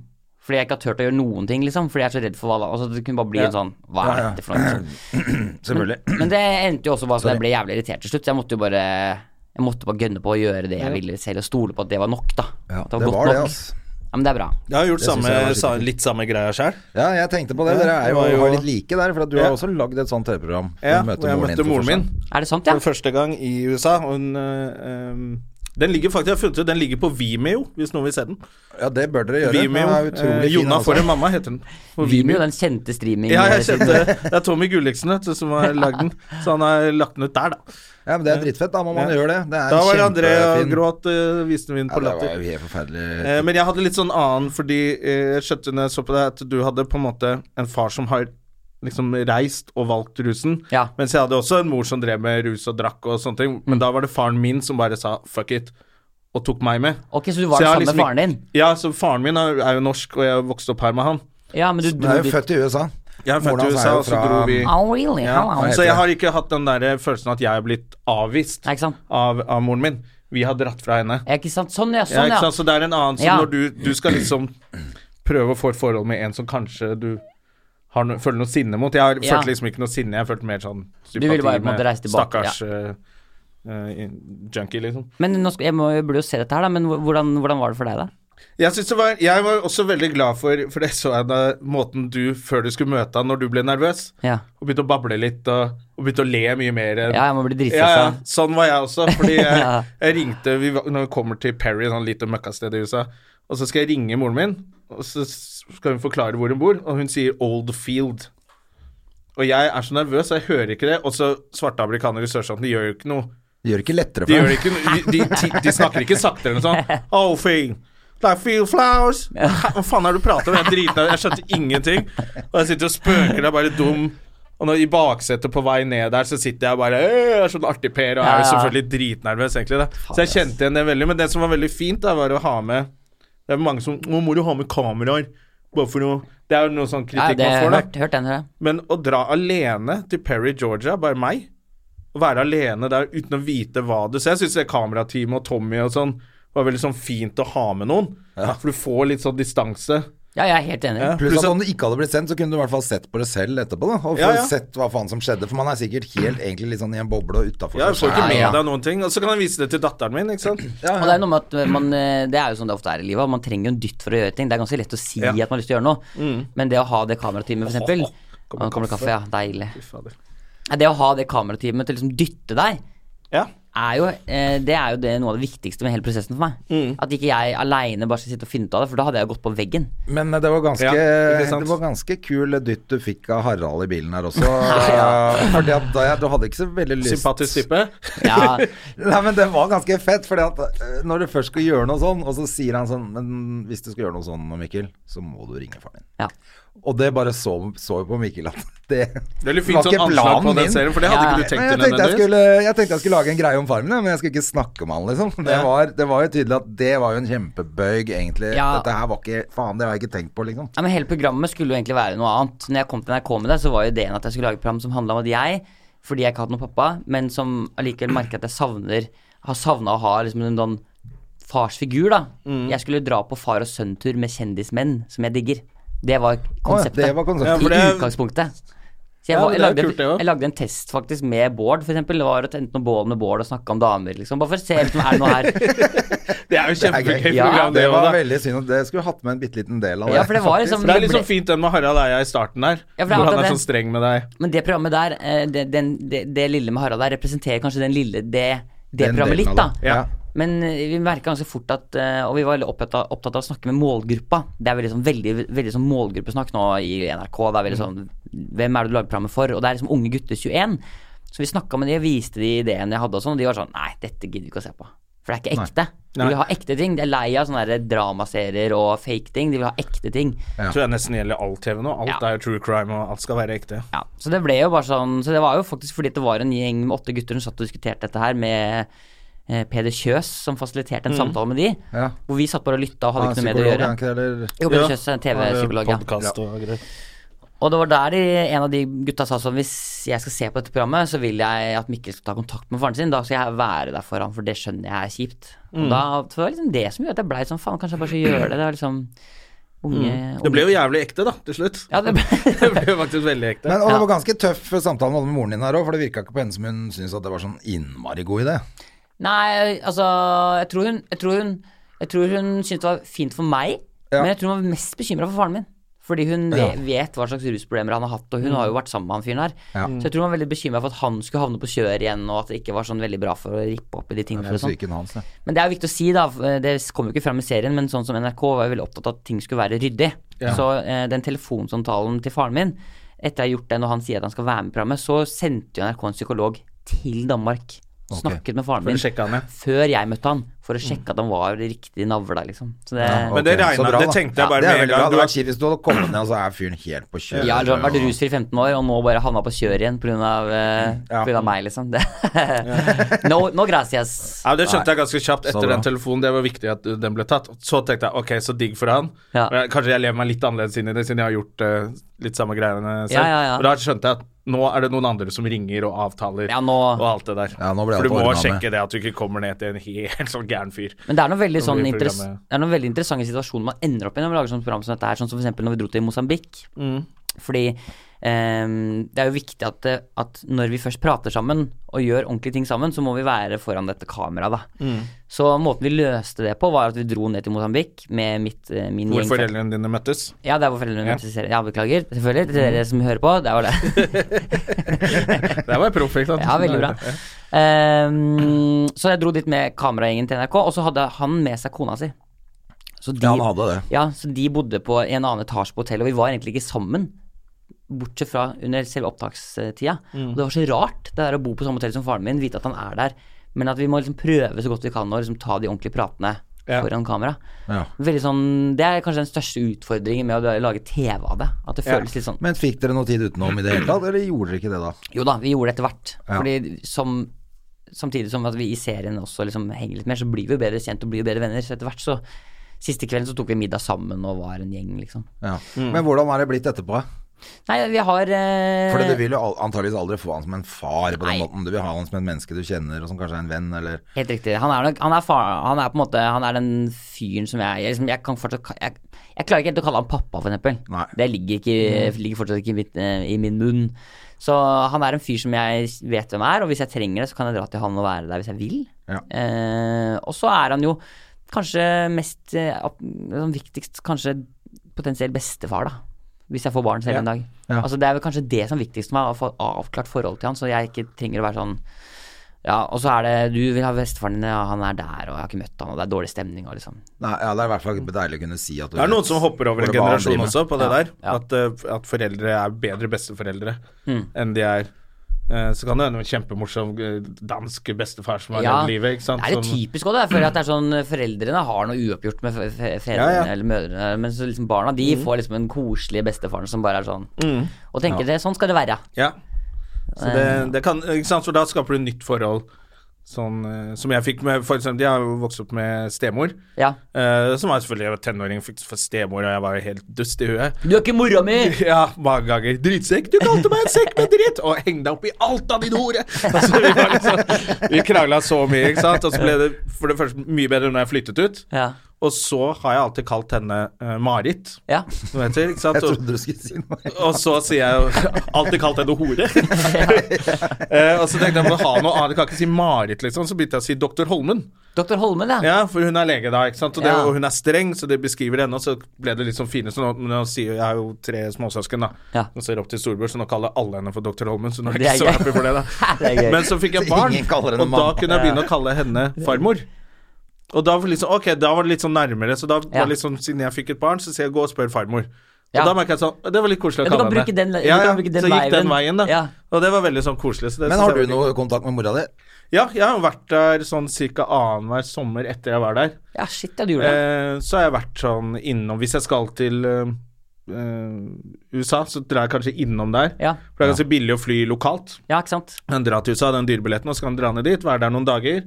Fordi jeg ikke har turt å gjøre noen ting, liksom. Fordi jeg er så redd for hva da. Altså, det kunne bare bli en sånn Hva er dette for noe? Liksom.
Selvfølgelig.
Men det endte jo også bare sånn at jeg ble jævlig irritert til slutt. Så jeg måtte jo bare Jeg måtte bare gønne på å gjøre det jeg ville selv, og stole på at det var nok, da.
Ja,
At
det
godt
var det,
nok.
altså.
Ja, men det er bra.
Jeg har gjort
Det synes
samme,
jeg var
sa,
skikkelig.
litt samme greia sjøl.
Ja, jeg tenkte på det. Dere er jo,
Det var jo-
var litt like der, for at du
Ja.
har også lagd et sånt TV-program.
Ja,
Hun
og
møter
jeg
moren din
møtte
for
moren
første
min
gang.
Er det sant, ja?
for første gang i USA. Og hun, øh, øhm, den ligger faktisk, jeg har funnet ut, den ligger på Vimeo, hvis noen vil se den.
Ja, det bør dere gjøre.
Vimeo,
Den er utrolig
eh,
fin,
Jonna
altså.
for en mamma heter den. På
Vimeo, den kjente streaming
Ja, jeg kjente det. Det er Tommy Gulliksen vet du, som har lagd den, så han har lagt den ut der, da.
Ja, men det er dritfett. Da må man
Ja.
gjøre det. Det er
Da var det André og
kjempefin-
gråt, øh, viste vi den
Ja,
på
det var
Latter.
jo helt forferdelig.
Eh, Men jeg hadde litt sånn annen, fordi eh, jeg skjønte når jeg så på deg at du hadde på en måte en far som har liksom reist og valgt rusen,
Ja.
mens jeg hadde også en mor som drev med rus og drakk og sånne ting, men da var det faren min som bare sa fuck it, og tok meg med.
Ok, så du
Så
var
jeg har
sammen
liksom
med faren din?
Ja, så faren min er er jo norsk, og jeg vokste opp her med han.
Ja, men du
Men jeg
dro
er jo
dit
født i USA.
Jeg er født
Moren
i
hans er
USA,
jo
og så
fra-
dro vi
Oh, really?
ja.
Hello.
heter
Så jeg
det?
har ikke hatt den der følelsen at jeg er blitt avvist
Nei, ikke sant?
av, av moren min. Vi har dratt fra henne.
Ja, ikke sant? Sånn, ja.
Ja,
Sånn,
ikke
ja.
sant? Så det er en annen som
Ja.
når du, du skal liksom prøve å få et forhold med en som kanskje du har no, føler noe sinne mot. Jeg har,
Ja.
følte liksom ikke noe sinne, jeg følte mer sånn sympati
ville bare på en måte
med
reise tilbake,
stakkars eh, eh, junkie, liksom.
Men nå skal, jeg, må, jeg burde jo se dette her, da. Men hvordan, hvordan var det for deg, da?
Jeg, synes det var, jeg var også veldig glad for, for det så jeg da måten du, før du skulle møte han, når du ble nervøs,
Ja.
og begynte å bable litt, og, og begynte å le mye mer enn
Ja, jeg må bli
Ja, ja,
dritstressa.
sånn var jeg også. Fordi jeg,
Ja.
jeg ringte vi, var- Når vi kommer til Perry, sånn lite møkkasted i USA, og så skal jeg ringe moren min, og så s- skal hun forklare hvor hun bor, og hun sier Old Field. Og jeg er så nervøs, og jeg hører ikke det. Og så svarte amerikanere i sørstaten, de gjør jo ikke noe.
Det gjør det ikke lettere
De,
for
gjør
deg.
ikke, noe- de, de, de snakker ikke sakte eller noe sånt. Oh, thing. Like field flowers. Hva faen er det du prater om? Jeg er dritnervøs. Jeg skjønte ingenting. Og jeg sitter og spøker der, bare dum. Og når, i baksetet på vei ned der, så sitter jeg bare «Øh, Jeg er sånn artig Per, og jeg er jo
Ja, ja.
selvfølgelig dritnervøs, egentlig. Da. Så jeg kjente igjen det veldig. Men det som var veldig fint, da, var å ha med Det er mange som Nå må du ha med kameraer. Bare for noe Det er jo noe sånn
Ja,
kritikk
det,
man får, da.
hørt, hørt den, hører jeg.
Men å dra alene til Perry, Georgia, bare meg, å være alene der uten å vite hva du ser Jeg syns kamerateamet og Tommy og sånn var veldig sånn fint å ha med noen. For du får litt sånn distanse.
Ja, jeg er helt enig.
Ja.
Pluss
Pluss
at
at-
om det ikke hadde blitt sendt, så kunne du i hvert fall sett på det selv etterpå. da Og få
Ja, ja.
sett hva faen som skjedde. For man er sikkert helt egentlig litt sånn i en boble og utafor
Ja, du får ikke
Ja,
med
ja.
deg noen ting. Og så kan jeg vise det til datteren min, ikke sant.
Og det er noe med at man, eh, det er jo sånn det ofte er i livet, at man trenger jo en dytt for å gjøre ting. Det er ganske lett å si
Ja.
at man har lyst til å gjøre noe, men det å ha det kamerateamet, for eksempel Å, Nå Mm. kommer det kaffe, ja. Deilig.
Fy fader.
Nei, Det å ha det kamerateamet til å liksom dytte deg,
Ja.
er jo, eh, det er jo det, noe av det viktigste med hele prosessen for meg. At ikke jeg aleine bare skal sitte og finne ut av det, for da hadde jeg gått på veggen.
Men eh, det var ganske
Ja, ikke sant?
Det var ganske kul dytt du fikk av Harald i bilen her også. Eh, Fordi at da jeg, Du hadde ikke så veldig lyst
Sympatisk type.
Ja,
Nei, men det var ganske fett, fordi at øh, når du først skal gjøre noe sånn, og så sier han sånn Men hvis du skal gjøre noe sånn, Mikkel, så må du ringe faren din.
ja.
Og det bare så, så jo på Mikkel at det,
Veldig fint sånn anslag på den serien, for det hadde
Ja.
ikke
Men jeg
du tenkt deg
tenkte jeg,
nødvendigvis.
skulle, jeg tenkte jeg skulle lage en greie om faren min, men jeg skulle ikke snakke med han, liksom. Det
Ja.
var, det var jo tydelig at det var jo en kjempebøyg, egentlig.
Ja.
Dette her var ikke Faen, det har jeg ikke tenkt på, liksom.
Ja, men hele programmet skulle jo egentlig være noe annet. Når jeg kom til NRK med det, så var jo ideen at jeg skulle lage et program som handla om at jeg, fordi jeg ikke har hatt noen pappa, men som allikevel merker at jeg savner har savna å ha liksom en sånn farsfigur, da.
Mm.
Jeg skulle dra på far og sønn-tur med kjendismenn som jeg digger. Det var
Å, ja,
konseptet.
det var konseptet.
Ja, for
I
det-
utgangspunktet. Så jeg,
Ja,
var,
det
jeg,
er
lagde,
kult, det også.
jeg lagde en test faktisk med Bård, f.eks. Det var å tente noen bål med Bård og snakke om damer, liksom. Bare for å se om det er noe her.
Det er jo kjempegøy
gøy.
Ja,
program,
Det var
også, da.
veldig synd. at Det skulle hatt med en bitte liten del av det.
Ja, for det var liksom
For det er
det ble-
liksom fint den med Harald Eia i starten der.
Ja, for
hvor
det er
han
akkurat
er
det.
så streng med deg.
Men det programmet der, eh, det, den, det, det lille med Harald der, representerer kanskje den lille, det, det
Den
programmet
delen
litt, da.
av det. Ja.
Men eh, vi merka ganske fort at eh, Og vi var veldig opptatt av, opptatt av å snakke med målgruppa. Det er veldig, sånn, veldig, veldig sånn målgruppesnakk nå i NRK. Det er
Mm.
veldig sånn Hvem er det du lager programmet for? Og det er liksom unge gutter 21. Så vi snakka med de og viste de ideene jeg hadde og sånn, og de var sånn Nei, dette gidder vi ikke å se på. For det er ikke ekte. De vil ha ekte ting. De er lei av sånne der dramaserier og fake ting. De vil ha ekte ting.
Tror jeg nesten gjelder all TV nå. Alt
Ja.
er jo true crime, og alt skal være ekte.
Ja, så det ble jo bare sånn Så det var jo faktisk fordi det var en gjeng med åtte gutter som satt og diskuterte dette her med eh, Peder Kjøs, som fasiliterte
Mm.
en samtale med de.
Ja.
Hvor vi satt bare og lytta og hadde
Han er
ikke noe med det å
psykolog, er
gjøre.
han ikke det, eller?
Jo, Peder Kjøs er en TV-psykolog, ja.
Eh, Podcast og greier.
Og det var der de, en av de gutta sa sånn Hvis jeg skal se på dette programmet, så vil jeg at Mikkel skal ta kontakt med faren sin. Da skal jeg være der for han, for det skjønner jeg er kjipt.
Mm.
Og da, så det var liksom det som gjorde at jeg blei sånn Faen, kanskje jeg bare skal gjøre det. Det var liksom unge,
Mm. Det ble jo jævlig ekte, da, til slutt.
Ja, det ble
Det ble jo faktisk veldig ekte.
Men, og det var ganske tøff samtale med moren din her òg, for det virka ikke på henne som hun syntes at det var sånn innmari god idé.
Nei, altså Jeg tror hun Jeg tror hun, jeg tror hun syntes det var fint for meg,
Ja.
men jeg tror hun var mest bekymra for faren min. Fordi hun ve- vet hva slags rusproblemer han har hatt, og hun har jo vært sammen med han fyren her.
Ja.
Så jeg tror hun var veldig bekymra for at han skulle havne på kjøret igjen, og at det ikke var sånn veldig bra for å rippe opp i de tingene.
Det er
og sånn.
psyken hans, det.
Men det er jo viktig å si, da. Det kom jo ikke fram i serien, men sånn som NRK var jo veldig opptatt av at ting skulle være ryddig. Så eh, den telefonsamtalen til faren min, etter jeg har gjort den, og han sier at han skal være med i programmet, så sendte jo NRK en psykolog til Danmark. Snakket med faren
For å
min
sjekke han, ja.
før jeg møtte han, for å sjekke at han var riktig navla, liksom. Så det
Ja,
Men det
ok, så
regnet-
bra,
det
da.
tenkte jeg bare
det er
med en
veldig bra. Det
gang. Du
hadde
er-
vært kjipt hvis du hadde kommet ned, og så er fyren helt på kjøret.
ja, eller så har han vært
og-
rusfri i 15 år, og nå bare havna på kjøret igjen pga. Eh, på grunn av meg, liksom. Det. no, no gracias.
Ja, Det skjønte jeg ganske kjapt etter
bra.
den telefonen. Det var viktig at uh, den ble tatt. Så tenkte jeg ok, så digg for han.
Ja.
Men jeg- Kanskje jeg lever meg litt annerledes inn i det, siden jeg har gjort eh, litt samme greiene selv.
Ja, ja, ja.
Og da skjønte jeg at nå er det noen andre som ringer og avtaler
Ja, nå-
og alt det der.
Ja, nå ble
for
alt
du må
ordnet med.
sjekke det at du ikke kommer ned til en helt sånn gæren fyr.
Men det er noen veldig,
Så
sånn
blir
interess
programmet-
det er noen veldig interessante situasjoner man ender opp i når man lager sånne program som dette her, sånn som for eksempel når vi dro til Mosambik. Fordi ehm, det er jo viktig at, eh, at når vi først prater sammen og gjør ordentlige ting sammen, så må vi være foran dette kameraet, da. Så måten vi løste det på, var at vi dro ned til Mosambik med mitt, eh, min
Hvor
gjeng. fra-
foreldrene dine møttes.
ja, det er hvor foreldrene mine presiserer. Ja, beklager. Selvfølgelig. Til dere som hører på, det var det.
Det var proff, ikke sant?
Ja, veldig bra. Ehm, så jeg dro dit med kameragjengen til NRK, og så hadde han med seg kona si. Så de,
Ja, han hadde det.
Ja, så de bodde på i en annen etasje på hotellet, og vi var egentlig ikke sammen. Bortsett fra under selve opptakstida. Og det var så rart, det der å bo på samme hotell som faren min, vite at han er der, men at vi må liksom prøve så godt vi kan å liksom ta de ordentlige pratene
Ja.
foran kamera.
Ja.
Veldig sånn, Det er kanskje den største utfordringen med å lage TV av det. At det føles litt sånn
Men fikk dere noe tid utenom i det hele tatt, eller gjorde dere ikke det da?
jo da, vi gjorde det etter hvert.
Ja.
Fordi som, Samtidig som at vi i serien også liksom henger litt mer, så blir vi jo bedre kjent og blir jo bedre venner. Så etter hvert så Siste kvelden så tok vi middag sammen og var en gjeng, liksom.
Ja. Men hvordan er det blitt etterpå?
Nei, vi har eh,
Fordi du vil jo al- antageligvis aldri få han som en far på den
Nei.
måten. Du vil ha han som et menneske du kjenner, og som kanskje er en venn, eller
Helt riktig. Han er, nok, han, er far, han er på en måte Han er den fyren som jeg Jeg, liksom, jeg kan fortsatt ka- jeg, jeg klarer ikke helt å kalle han pappa, for eksempel.
Nei.
Det ligger, ikke, ligger fortsatt ikke i, mitt, eh, i min munn. Så han er en fyr som jeg vet hvem er, og hvis jeg trenger det, så kan jeg dra til han og være der hvis jeg vil.
Ja.
Eh, og så er han jo kanskje mest eh, opp- sånn viktigst Kanskje potensielt bestefar, da. Hvis jeg får barn selv en dag. Altså Det er vel kanskje det som er viktigst for meg, å få avklart forholdet til han, så jeg ikke trenger å være sånn ja, og så er det Du vil ha bestefaren din, ja, han er der, og jeg har ikke møtt han, og det er dårlig stemning, og liksom
Nei, ja, det er i hvert fall deilig å kunne si at du
Det er
vet
noen som hopper over
hvor
en
det var han
generasjon
driver med.
også på det der.
ja. Hmm.
At, eh, at foreldre er bedre besteforeldre enn de er eh, Så kan det hende en kjempemorsom eh, dansk bestefar som har
Ja,
levd livet, ikke sant.
Det er litt
Som-
typisk òg, for at det er sånn foreldrene har noe uoppgjort med fe- fe- fedrene
Ja, ja.
eller mødrene, men så liksom barna de får liksom den koselige bestefaren som bare er sånn Og tenker det, sånn skal det være.
Ja. Så
Eh.
det, det kan, ikke sant? Så da skaper du nytt forhold. Sånn, eh, som jeg fikk med for eksempel, Jeg har jo vokst opp med stemor.
Ja.
eh, som var selvfølgelig jeg var tenåring, fikk for stemor, og jeg var jo helt dust i huet.
Du er ikke mora mi!
Ja, mange ganger. Drittsekk! Du kalte meg en sekk med dritt! Og heng deg opp i alt av din hore! Altså, vi var liksom, vi krangla så mye, ikke sant. Og så ble det for det første mye bedre når jeg flyttet ut.
Ja.
Og så har jeg alltid kalt henne eh, Marit,
Ja.
som det heter. Ikke sant?
Jeg
Og-
trodde du skulle si noe.
og så sier jeg jo alltid kalt henne hore. Eh, og så tenkte jeg må ha noe annet, jeg kan ikke si Marit, liksom. Så begynte jeg å si Dr. Holmen.
Doktor Holmen, ja.
Ja, for hun er lege da, ikke sant. Og, det,
Ja.
og hun er streng, så det beskriver henne. Og så ble det litt sånn fine, så nå, men nå sier jeg har jo tre småsøsken, da.
Ja.
Som ser opp til storebror, så nå kaller alle henne for Dr. Holmen. Så nå er jeg
Det er
ikke så
gøy.
happy for det, da.
Det er gøy.
Men så fikk jeg
Så
barn,
ingen kaller henne
og da
mamma.
kunne jeg begynne å kalle henne farmor. Og da var, det liksom, ok, da var det litt sånn nærmere, så da var
Ja.
det litt sånn, siden jeg fikk et barn, så sier jeg gå og spør farmor. Og
Ja.
da merket jeg sånn, Det var litt koselig å
Ja, du
kalle
kan
henne.
bruke den- du
ja,
kan
ja,
bruke den
så gikk den
veien.
veien, da.
Ja.
Og det var veldig sånn koselig. Så det,
Men
synes
har
jeg
du
var
noe kontakt med mora di?
Ja, jeg har vært der sånn ca. annenhver sommer etter jeg var der.
Ja, shit, ja, du gjorde det.
Eh, så har jeg vært sånn innom Hvis jeg skal til eh, eh, USA, så drar jeg kanskje innom der.
Ja.
For det er ganske billig å fly lokalt.
Ja, ikke sant.
Men dra til USA, den dyrebilletten, og så kan du dra ned dit, være der noen dager,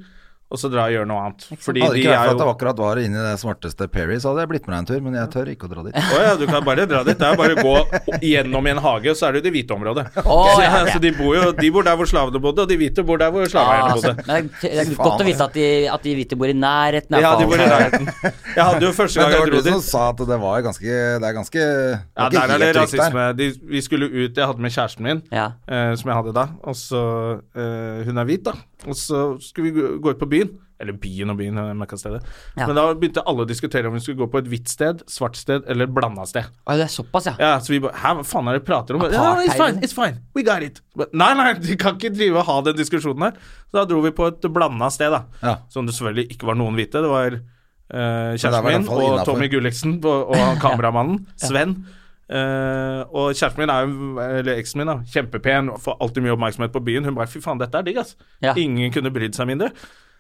og så dra og gjøre noe annet. Fordi
Hadde det
de
ikke vært
er
for at det
jo
akkurat var inne i det smarteste Perry, så hadde jeg blitt med deg en tur, men jeg tør ikke å dra dit.
Å ja, du kan bare dra dit. Det er bare å gå gjennom i en hage, og så er du i det hvite området.
Å,
så,
ja, ja.
så de bor jo De bor der hvor slavene bodde, og de hvite bor der hvor
Ah,
slaveeierne
altså,
bodde.
men det er godt å vite at de, at de hvite bor i nærheten. i hvert
Ja, de
fall.
bor i nærheten. Jeg hadde jo første
Men det
gang jeg
var sånn
dro
du som
dit
sa at det var ganske Det er ganske
Ja,
det var ikke
der er det
helt trygt der.
rasisme. De, vi skulle ut, jeg hadde med kjæresten min,
Ja.
eh, som jeg hadde da, og så eh, Hun er hvit, da. Og så skulle vi gå- gå ut på byen. Eller byen og byen, jeg merka stedet.
Ja.
Men da begynte alle å diskutere om vi skulle gå på et hvitt sted, svart sted eller blanda sted.
Å, det er såpass, ja.
Ja, så vi bare Hæ, hva faen er det du prater om? Ja,
Apartheid.
it's fine, it's fine, we got it. But, nei, nei, de kan ikke drive og ha den diskusjonen her. Så da dro vi på et blanda sted, da.
Ja.
Som det selvfølgelig ikke var noen hvite. Det var eh,
det var i
kjæresten min
hvert fall
og
innenfor.
Tommy Gulliksen på- og han kameramannen, Sven. Eh, og kjæresten min er jo Eller eksen min, da. Kjempepen, og får alltid mye oppmerksomhet på byen. Hun bare fy faen, dette er digg, ass.
Ja.
Ingen kunne brydd seg mindre.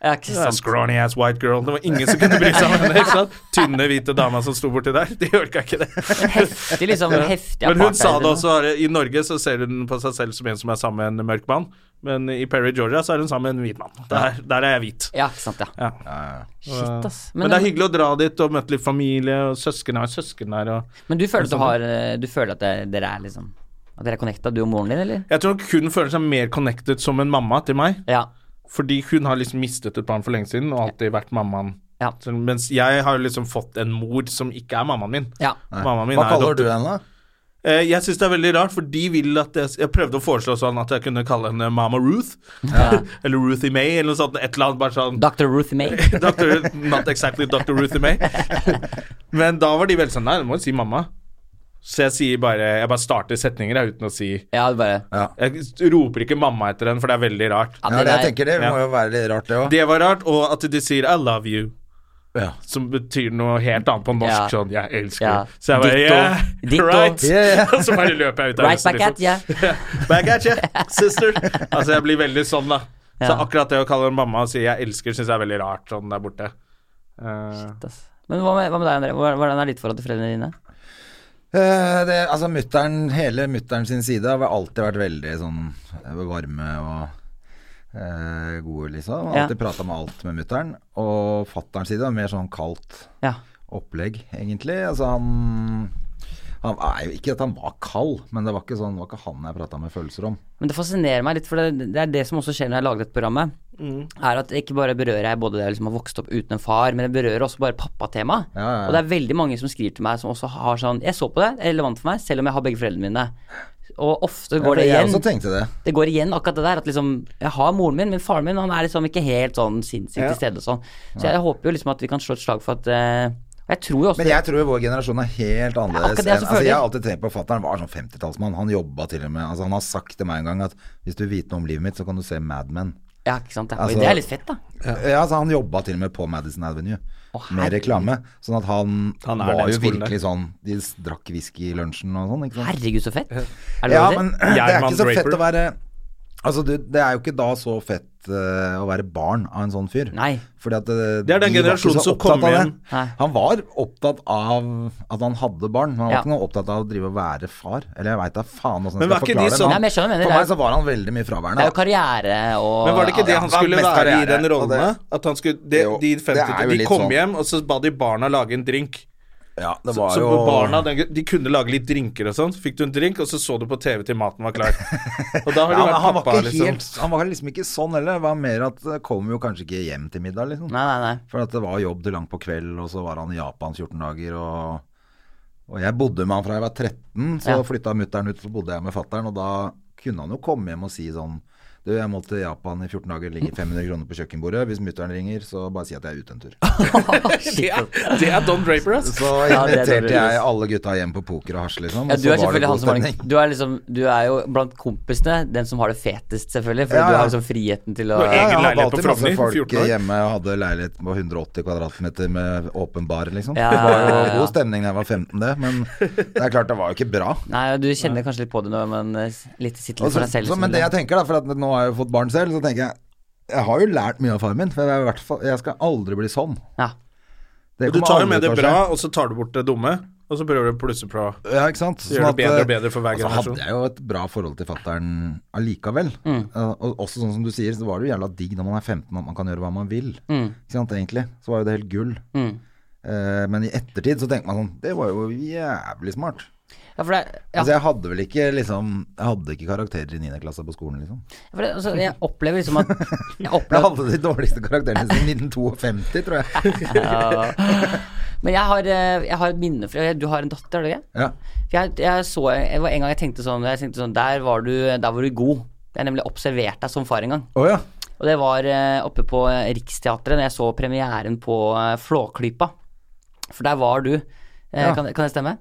ja ikke
Ja,
sant.
Scrawny ass white girl. Det var ingen som kunne bry seg om henne. ikke sant? Tynne, hvite dama som sto borti der. De orka ikke det.
Heftig, liksom. Heftig
Men hun sa
apartheid.
det også, er- i Norge så ser hun på seg selv som en som er sammen med en mørk mann, men i Perry, Georgia så er hun sammen med en hvit mann. Der, der er jeg hvit.
Ja, ikke sant, ja.
Ja.
Shit, ass.
Men, det er hyggelig å dra dit og møte litt familie, og søsken er søsken der, og
Men du føler at du har eh, Du føler at det- dere er liksom At dere er connecta, du og moren din, eller?
Jeg tror nok hun føler seg mer connected som en mamma til meg,
Ja.
fordi hun har liksom mistet et barn for lenge siden og alltid vært mammaen.
Ja.
Så- Mens jeg har liksom fått en mor som ikke er mammaen min.
ja.
Mammaen min
Hva
er
kaller
doktor-
du henne?
Eh, Jeg syns det er veldig rart, for de vil at jeg, jeg prøvde å foreslå sånn at jeg kunne kalle henne Mama Ruth, eller Ruthie May, eller noe sånt. Et eller annet bare sånn
Dr. Ruth May.
Dr. Not exactly Dr. Ruthie May. Men da var de veldig sånn Nei, du må jo si mamma. Så jeg sier bare Jeg bare starter setninger jeg, uten å si
Ja, du bare
Jeg roper ikke mamma etter henne, for det er veldig rart.
Ja, det jeg
der-
tenker det
Ja.
må jo være litt rart, det òg.
Det var rart, og at de sier I love you.
Ja.
Som betyr noe helt annet på norsk,
Ja.
sånn Jeg elsker
Ja.
Så jeg bare
Ditto.
Yeah,
Ditto.
right.
Yeah.
Og så bare løper jeg ut av
Right
huset,
back at ya.
Back at ya, sister. Altså, jeg blir veldig sånn, da. Så
Ja.
akkurat det å kalle henne mamma og si 'jeg elsker', syns jeg er veldig rart sånn der borte. Eh,
Shit, ass. Men hva med, hva med deg, André? Hvordan hvordan er ditt forhold til foreldrene dine?
Eh, det, altså mutteren, hele mutteren sin side har alltid vært veldig sånn eh, varme og eh, gode, liksom.
Ja.
Alltid pratet prata med alt med mutteren. Og fatterens side var mer sånn kaldt
Ja.
opplegg, egentlig. Altså han han er jo Ikke at han var kald, men det var ikke sånn, det var ikke han jeg prata med følelser om.
Men det fascinerer meg litt, for det, det er det som også skjer når jeg lager dette programmet.
Mm.
Er at ikke bare berører jeg både det å liksom ha vokst opp uten en far, men jeg berører også bare pappatemaet.
Ja, ja, ja.
Og det er veldig mange som skriver til meg som også har sånn Jeg så på det, det er relevant for meg, selv om jeg har begge foreldrene mine. Og ofte går det
jeg
igjen.
også tenkte det.
Det går igjen akkurat det der at liksom Jeg har moren min, men faren min han er liksom ikke helt sånn sinnssykt til stede og sånn. Så jeg håper jo liksom at vi kan slå et slag for at eh, Og jeg tror jo også
Men jeg tror jo vår generasjon er helt annerledes.
akkurat det jeg
enn-
også
altså,
føler.
jeg har alltid tenkt på Fatter'n var sånn 50-tallsmann. Han jobba til og med altså, Han har sagt til meg en gang at hvis du vil vite noe om livet mitt, så kan du se Mad Men.
Ja, ikke sant. Ja.
Altså-
Oi, det er litt fett, da.
Ja. altså, han jobba til og med på Madison Avenue med
herregud.
reklame. Sånn at han,
Han er
var
den
jo
skolen der.
virkelig sånn De s- drakk whisky i lunsjen og sånn, ikke sant.
Herregud, så fett. Er det
Ja,
lov å si?
men det er
Gjerman
ikke så fett
Draper.
å være Altså, du, det er jo ikke da så fett eh, å være barn av en sånn fyr.
Nei.
Fordi at eh,
Det er den
de var ikke
generasjonen
så
som
opptatt
kommer
av
igjen.
det.
Nei.
Han var opptatt av at han hadde barn, men han var
Ja.
ikke noe opptatt av å drive og være far. Eller jeg veit da faen åssen jeg skal
Men var ikke de
forklare det.
sånn-
Nei, men jeg skjønner hva du mener.
For
Det er-
meg så var han veldig mye
Det er jo
fraværende.
karriere og
Men var det
ja,
ikke det han
det var
skulle
mest
være i
karriere,
den rollen?
og det-
da? At han skulle, de,
Jo,
de
det er
50,
jo
de
litt
kom
sånn.
hjem, og så ba de barna lage en drink.
Ja, det
Så,
var
så
jo
barna den, gu- de kunne lage litt drinker og sånn. Så Fikk du en drink, og så så du på TV til maten var klar. Og da har
ja,
du
men
vært
han, var
pappa,
ikke
liksom.
helt, han var liksom ikke sånn heller. Det var mer at det kom jo kanskje ikke hjem til middag, liksom.
Nei, nei, nei.
For at det var jobb til langt på kveld, og så var han i Japan 14 dager, og, og jeg bodde med han fra jeg var 13, så
Ja.
flytta mutter'n ut, så bodde jeg med fatter'n, og da kunne han jo komme hjem og si sånn du, jeg må til Japan i 14 dager, ligger 500 kroner på kjøkkenbordet. Hvis mutter'n ringer, så bare si at jeg er ute en tur.
Det er, det er Don Draper, ass.
Så
Ja, det er
inviterte
dårlig
jeg alle gutta hjem på poker og hasj, liksom. og
Ja,
så
du er
var det
selvfølgelig han
god
som har
stemning.
den Du er liksom Du er jo blant kompisene den som har det fetest, selvfølgelig. For
Ja,
du
ja.
har liksom friheten til å
Du
Ja,
er
jeg
egen
hadde
leilighet på
alltid masse
Frogner,
folk
14 år.
hjemme og hadde leilighet på 180 kvadratmeter med åpen bar, liksom.
Ja,
det var jo
ja, ja.
god stemning da jeg var 15, det, men det er klart det var jo ikke bra.
Nei, du kjenner kanskje litt på det nå, men eh, litt sitter
Og
litt for
så,
deg selv.
så, men det jeg
selvfølgelig.
tenker da, for at nå har jeg jo fått barn selv, så tenker jeg jeg har jo lært mye av faren min, for jeg, er i hvert fall, jeg skal aldri bli sånn.
ja.
Det
Du
kommer
tar jo
aldri
med det
til å skje.
bra, og så tar du bort det dumme, og så prøver du å plusse på
Ja, ikke sant? Sånn eh,
Gjør det bedre og bedre for hver
og så
generasjon.
hadde jeg altså, jo et bra forhold til fattern allikevel.
Mm.
Eh, og også sånn som du sier, så var det jo jævla digg når man er 15 at man kan gjøre hva man vil.
Mm.
Ikke sant, egentlig. Så var jo det helt gull. Eh, men i ettertid så tenker man sånn Det var jo jævlig smart.
ja, for det er ja.
Altså jeg hadde vel ikke liksom Jeg hadde ikke karakterer i 9. klasse på skolen, liksom.
For det, altså, jeg opplever liksom at Jeg
Jeg
opplever
hadde de dårligste karakterene siden 1952, tror jeg.
Men jeg har, eh, jeg har et minne fra Du har en datter, er det ikke?
Ja.
For jeg, jeg så jeg, var En gang jeg tenkte sånn, jeg tenkte sånn der, var du, der var du god. Jeg nemlig observerte deg som far en gang.
Å ja.
Og det var eh, oppe på eh, Riksteatret da jeg så premieren på eh, Flåklypa. For der var du. Eh,
Ja.
kan, kan det stemme?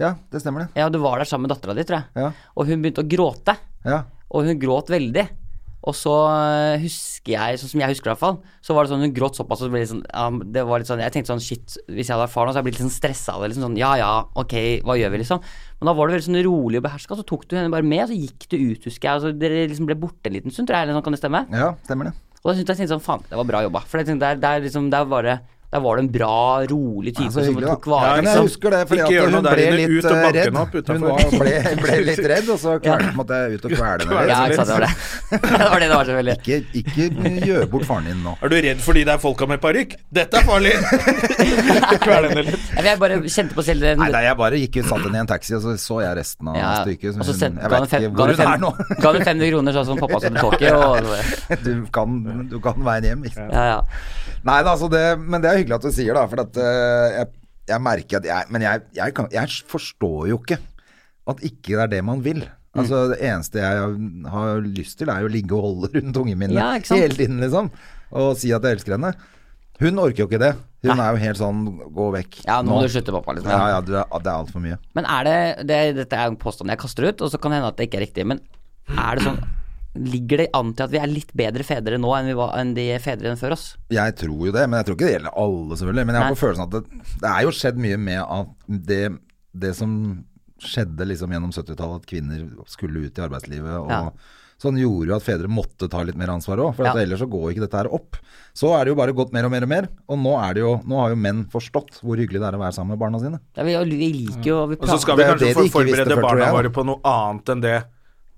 Ja, det stemmer det.
Ja, du var der sammen med dattera di, tror jeg.
Ja.
Og hun begynte å gråte.
Ja.
Og hun gråt veldig. Og så eh, husker jeg, sånn som jeg husker det i hvert fall, så var det sånn hun gråt såpass og så ble det sånn, ja, det var litt sånn Jeg tenkte sånn shit, hvis jeg hadde vært far nå, så hadde jeg blitt litt sånn stressa av det. Liksom sånn ja ja, ok, hva gjør vi, liksom? Men da var det veldig sånn rolig og beherska, så tok du henne bare med, og så gikk du ut, husker jeg, og så dere liksom ble borte en liten stund, tror jeg, eller sånn, kan det stemme?
ja, stemmer det.
Og da syntes jeg tenkte sånn, faen, det var bra jobba. For jeg tenkte, der, der, liksom, der, var det, der var det en bra, rolig type
Ja, så
som
hyggelig, da.
tok vare.
Ja, men jeg
liksom.
husker det, fordi
Ikke
at
gjør noe
hun
der
ble
inne,
litt
ut og
eh,
banke
redd.
den opp
Hun
utenfor.
var, ble, ble litt redd, og så klarte, måtte jeg ut og kvele henne
Ja,
litt.
ikke sant, det var det. det var det det var, selvfølgelig.
Ikke, ikke gjør bort faren din nå.
Er du redd fordi det er folka med parykk? Dette er farlig! Kvel henne litt.
Ja, men Jeg bare kjente på selv den
Nei, nei, jeg bare gikk ut, satt henne i en taxi, og så så jeg resten av
Ja,
stykket.
og så
hun-
sendte-
jeg
ga han
vet
fem-
ikke
ga
hvor
han
hun er
fem-
nå.
Ga han 500 kroner sånn som pappa som tåke, og
Du kan, du kan veien hjem. Ikke? sant?
ja, ja.
Nei da, altså det, men det er hyggelig at du sier, da. For at eh, jeg, jeg merker at jeg Men jeg, jeg, kan, jeg forstår jo ikke at ikke det er det man vil. Altså
Mm.
Det eneste jeg har lyst til, er jo å ligge og holde rundt ungen min
Ja, ikke sant?
hele tiden, liksom. Og si at jeg elsker henne. Hun orker jo ikke det. Hun er jo helt sånn gå vekk.
Ja, nå må du slutte, pappa, liksom.
Ja, ja, du er, det er altfor mye.
Men er det, det Dette er jo en påstand jeg kaster ut, og så kan det hende at det ikke er riktig. Men er det sånn Ligger det an til at vi er litt bedre fedre nå enn, vi var, enn de fedrene før oss?
Jeg tror jo det, men jeg tror ikke det gjelder alle, selvfølgelig. Men jeg har
Nei.
på følelsen at det, det er jo skjedd mye med at det, det som skjedde liksom gjennom 70-tallet, at kvinner skulle ut i arbeidslivet og
Ja.
sånn, gjorde jo at fedre måtte ta litt mer ansvar òg. For
Ja.
at ellers så går jo ikke dette her opp. Så er det jo bare gått mer og mer og mer. Og nå, er det jo, nå har jo menn forstått hvor hyggelig det er å være sammen med barna sine.
Ja, vi, vi liker jo vi
Og så skal
Det
vi
er
kanskje
det de ikke visste før,
forberede
tror
barna
jeg, da.
våre på noe annet enn det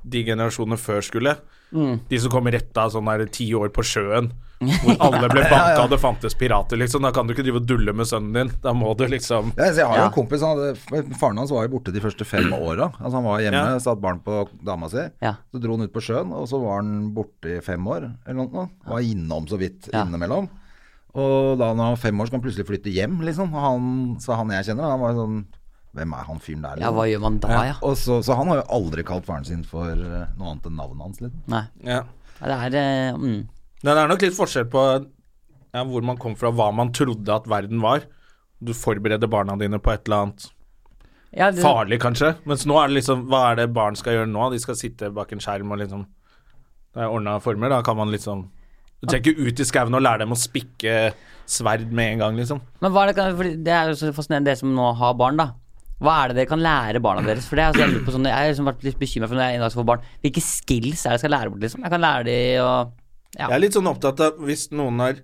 de generasjonene før skulle.
Mm.
De som kom rett av sånn der ti år på sjøen, hvor alle ble banka og det fantes pirater, liksom. Da kan du ikke drive og dulle med sønnen din. Da må du liksom
Ja, altså, jeg har jo
Ja.
en kompis, han hadde, Faren hans var jo borte de første fem åra. Altså, han var hjemme,
Ja.
satt barn på dama si.
Ja.
Så dro han ut på sjøen, og så var han borte i fem år. Eller noe, Var innom så vidt
Ja.
innimellom. Og da han var fem år, så kan han plutselig flytte hjem, liksom. Og han, så han jeg kjenner, han var jo sånn Hvem er han fyren der? liksom?
Ja, hva gjør man da, ja?
Og så, så han har jo aldri kalt faren sin for eh, noe annet enn navnet hans, liksom.
Nei.
ja.
Ja, Det er eh, mm.
Men det er nok litt forskjell på ja, hvor man kom fra, hva man trodde at verden var. Du forbereder barna dine på et eller annet
ja, det,
farlig, kanskje. Mens nå er det liksom Hva er det barn skal gjøre nå? De skal sitte bak en skjerm og liksom Det er ordna former. Da kan man liksom Du trenger ikke ut i skauen og lære dem å spikke sverd med en gang, liksom.
Men hva er det, kan- fordi det er jo så fascinerende, dere som nå har barn, da. Hva er det dere kan lære barna deres? For det er, altså, jeg, lurer på sånn, jeg har liksom vært litt bekymra for når jeg en dag skal få barn. Hvilke skills er det jeg skal lære bort, liksom? Jeg kan lære de å
Jeg er litt sånn opptatt av hvis noen har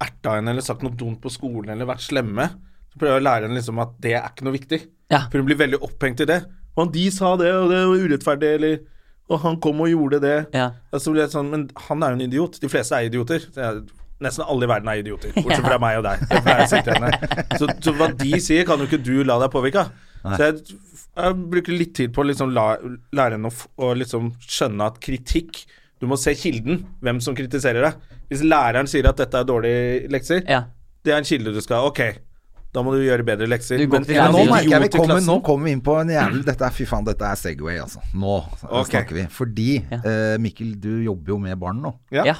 erta henne eller sagt noe dumt på skolen eller vært slemme, så prøver jeg å lære henne liksom at det er ikke noe viktig.
Ja.
For hun blir veldig opphengt i det. Og han, de sa det, og det var urettferdig, eller Og han kom og gjorde det.
Ja.
Altså, Og så blir jeg sånn Men han er jo en idiot. De fleste er idioter. Så jeg, Nesten alle i verden er idioter, bortsett fra meg og deg. Det er for deg jeg sitter igjen her. Så, så hva de sier, kan jo ikke du la deg påvirke av. Så jeg, jeg bruker litt tid på å liksom la, lære henne å f- å liksom skjønne at kritikk Du må se kilden, hvem som kritiserer deg. Hvis læreren sier at dette er dårlige lekser,
Ja.
det er en kilde du skal Ok, da må du gjøre bedre lekser.
Du går til
en
læreren
nå
og sier,
merker
idiot
jeg
i
vi kommer,
klassen-
nå kommer vi inn på en jævlig Dette er fy faen, dette er Segway, altså. Nå
Ok.
snakker vi. Fordi, eh, Mikkel, du jobber jo med barn nå.
Ja.
Ja.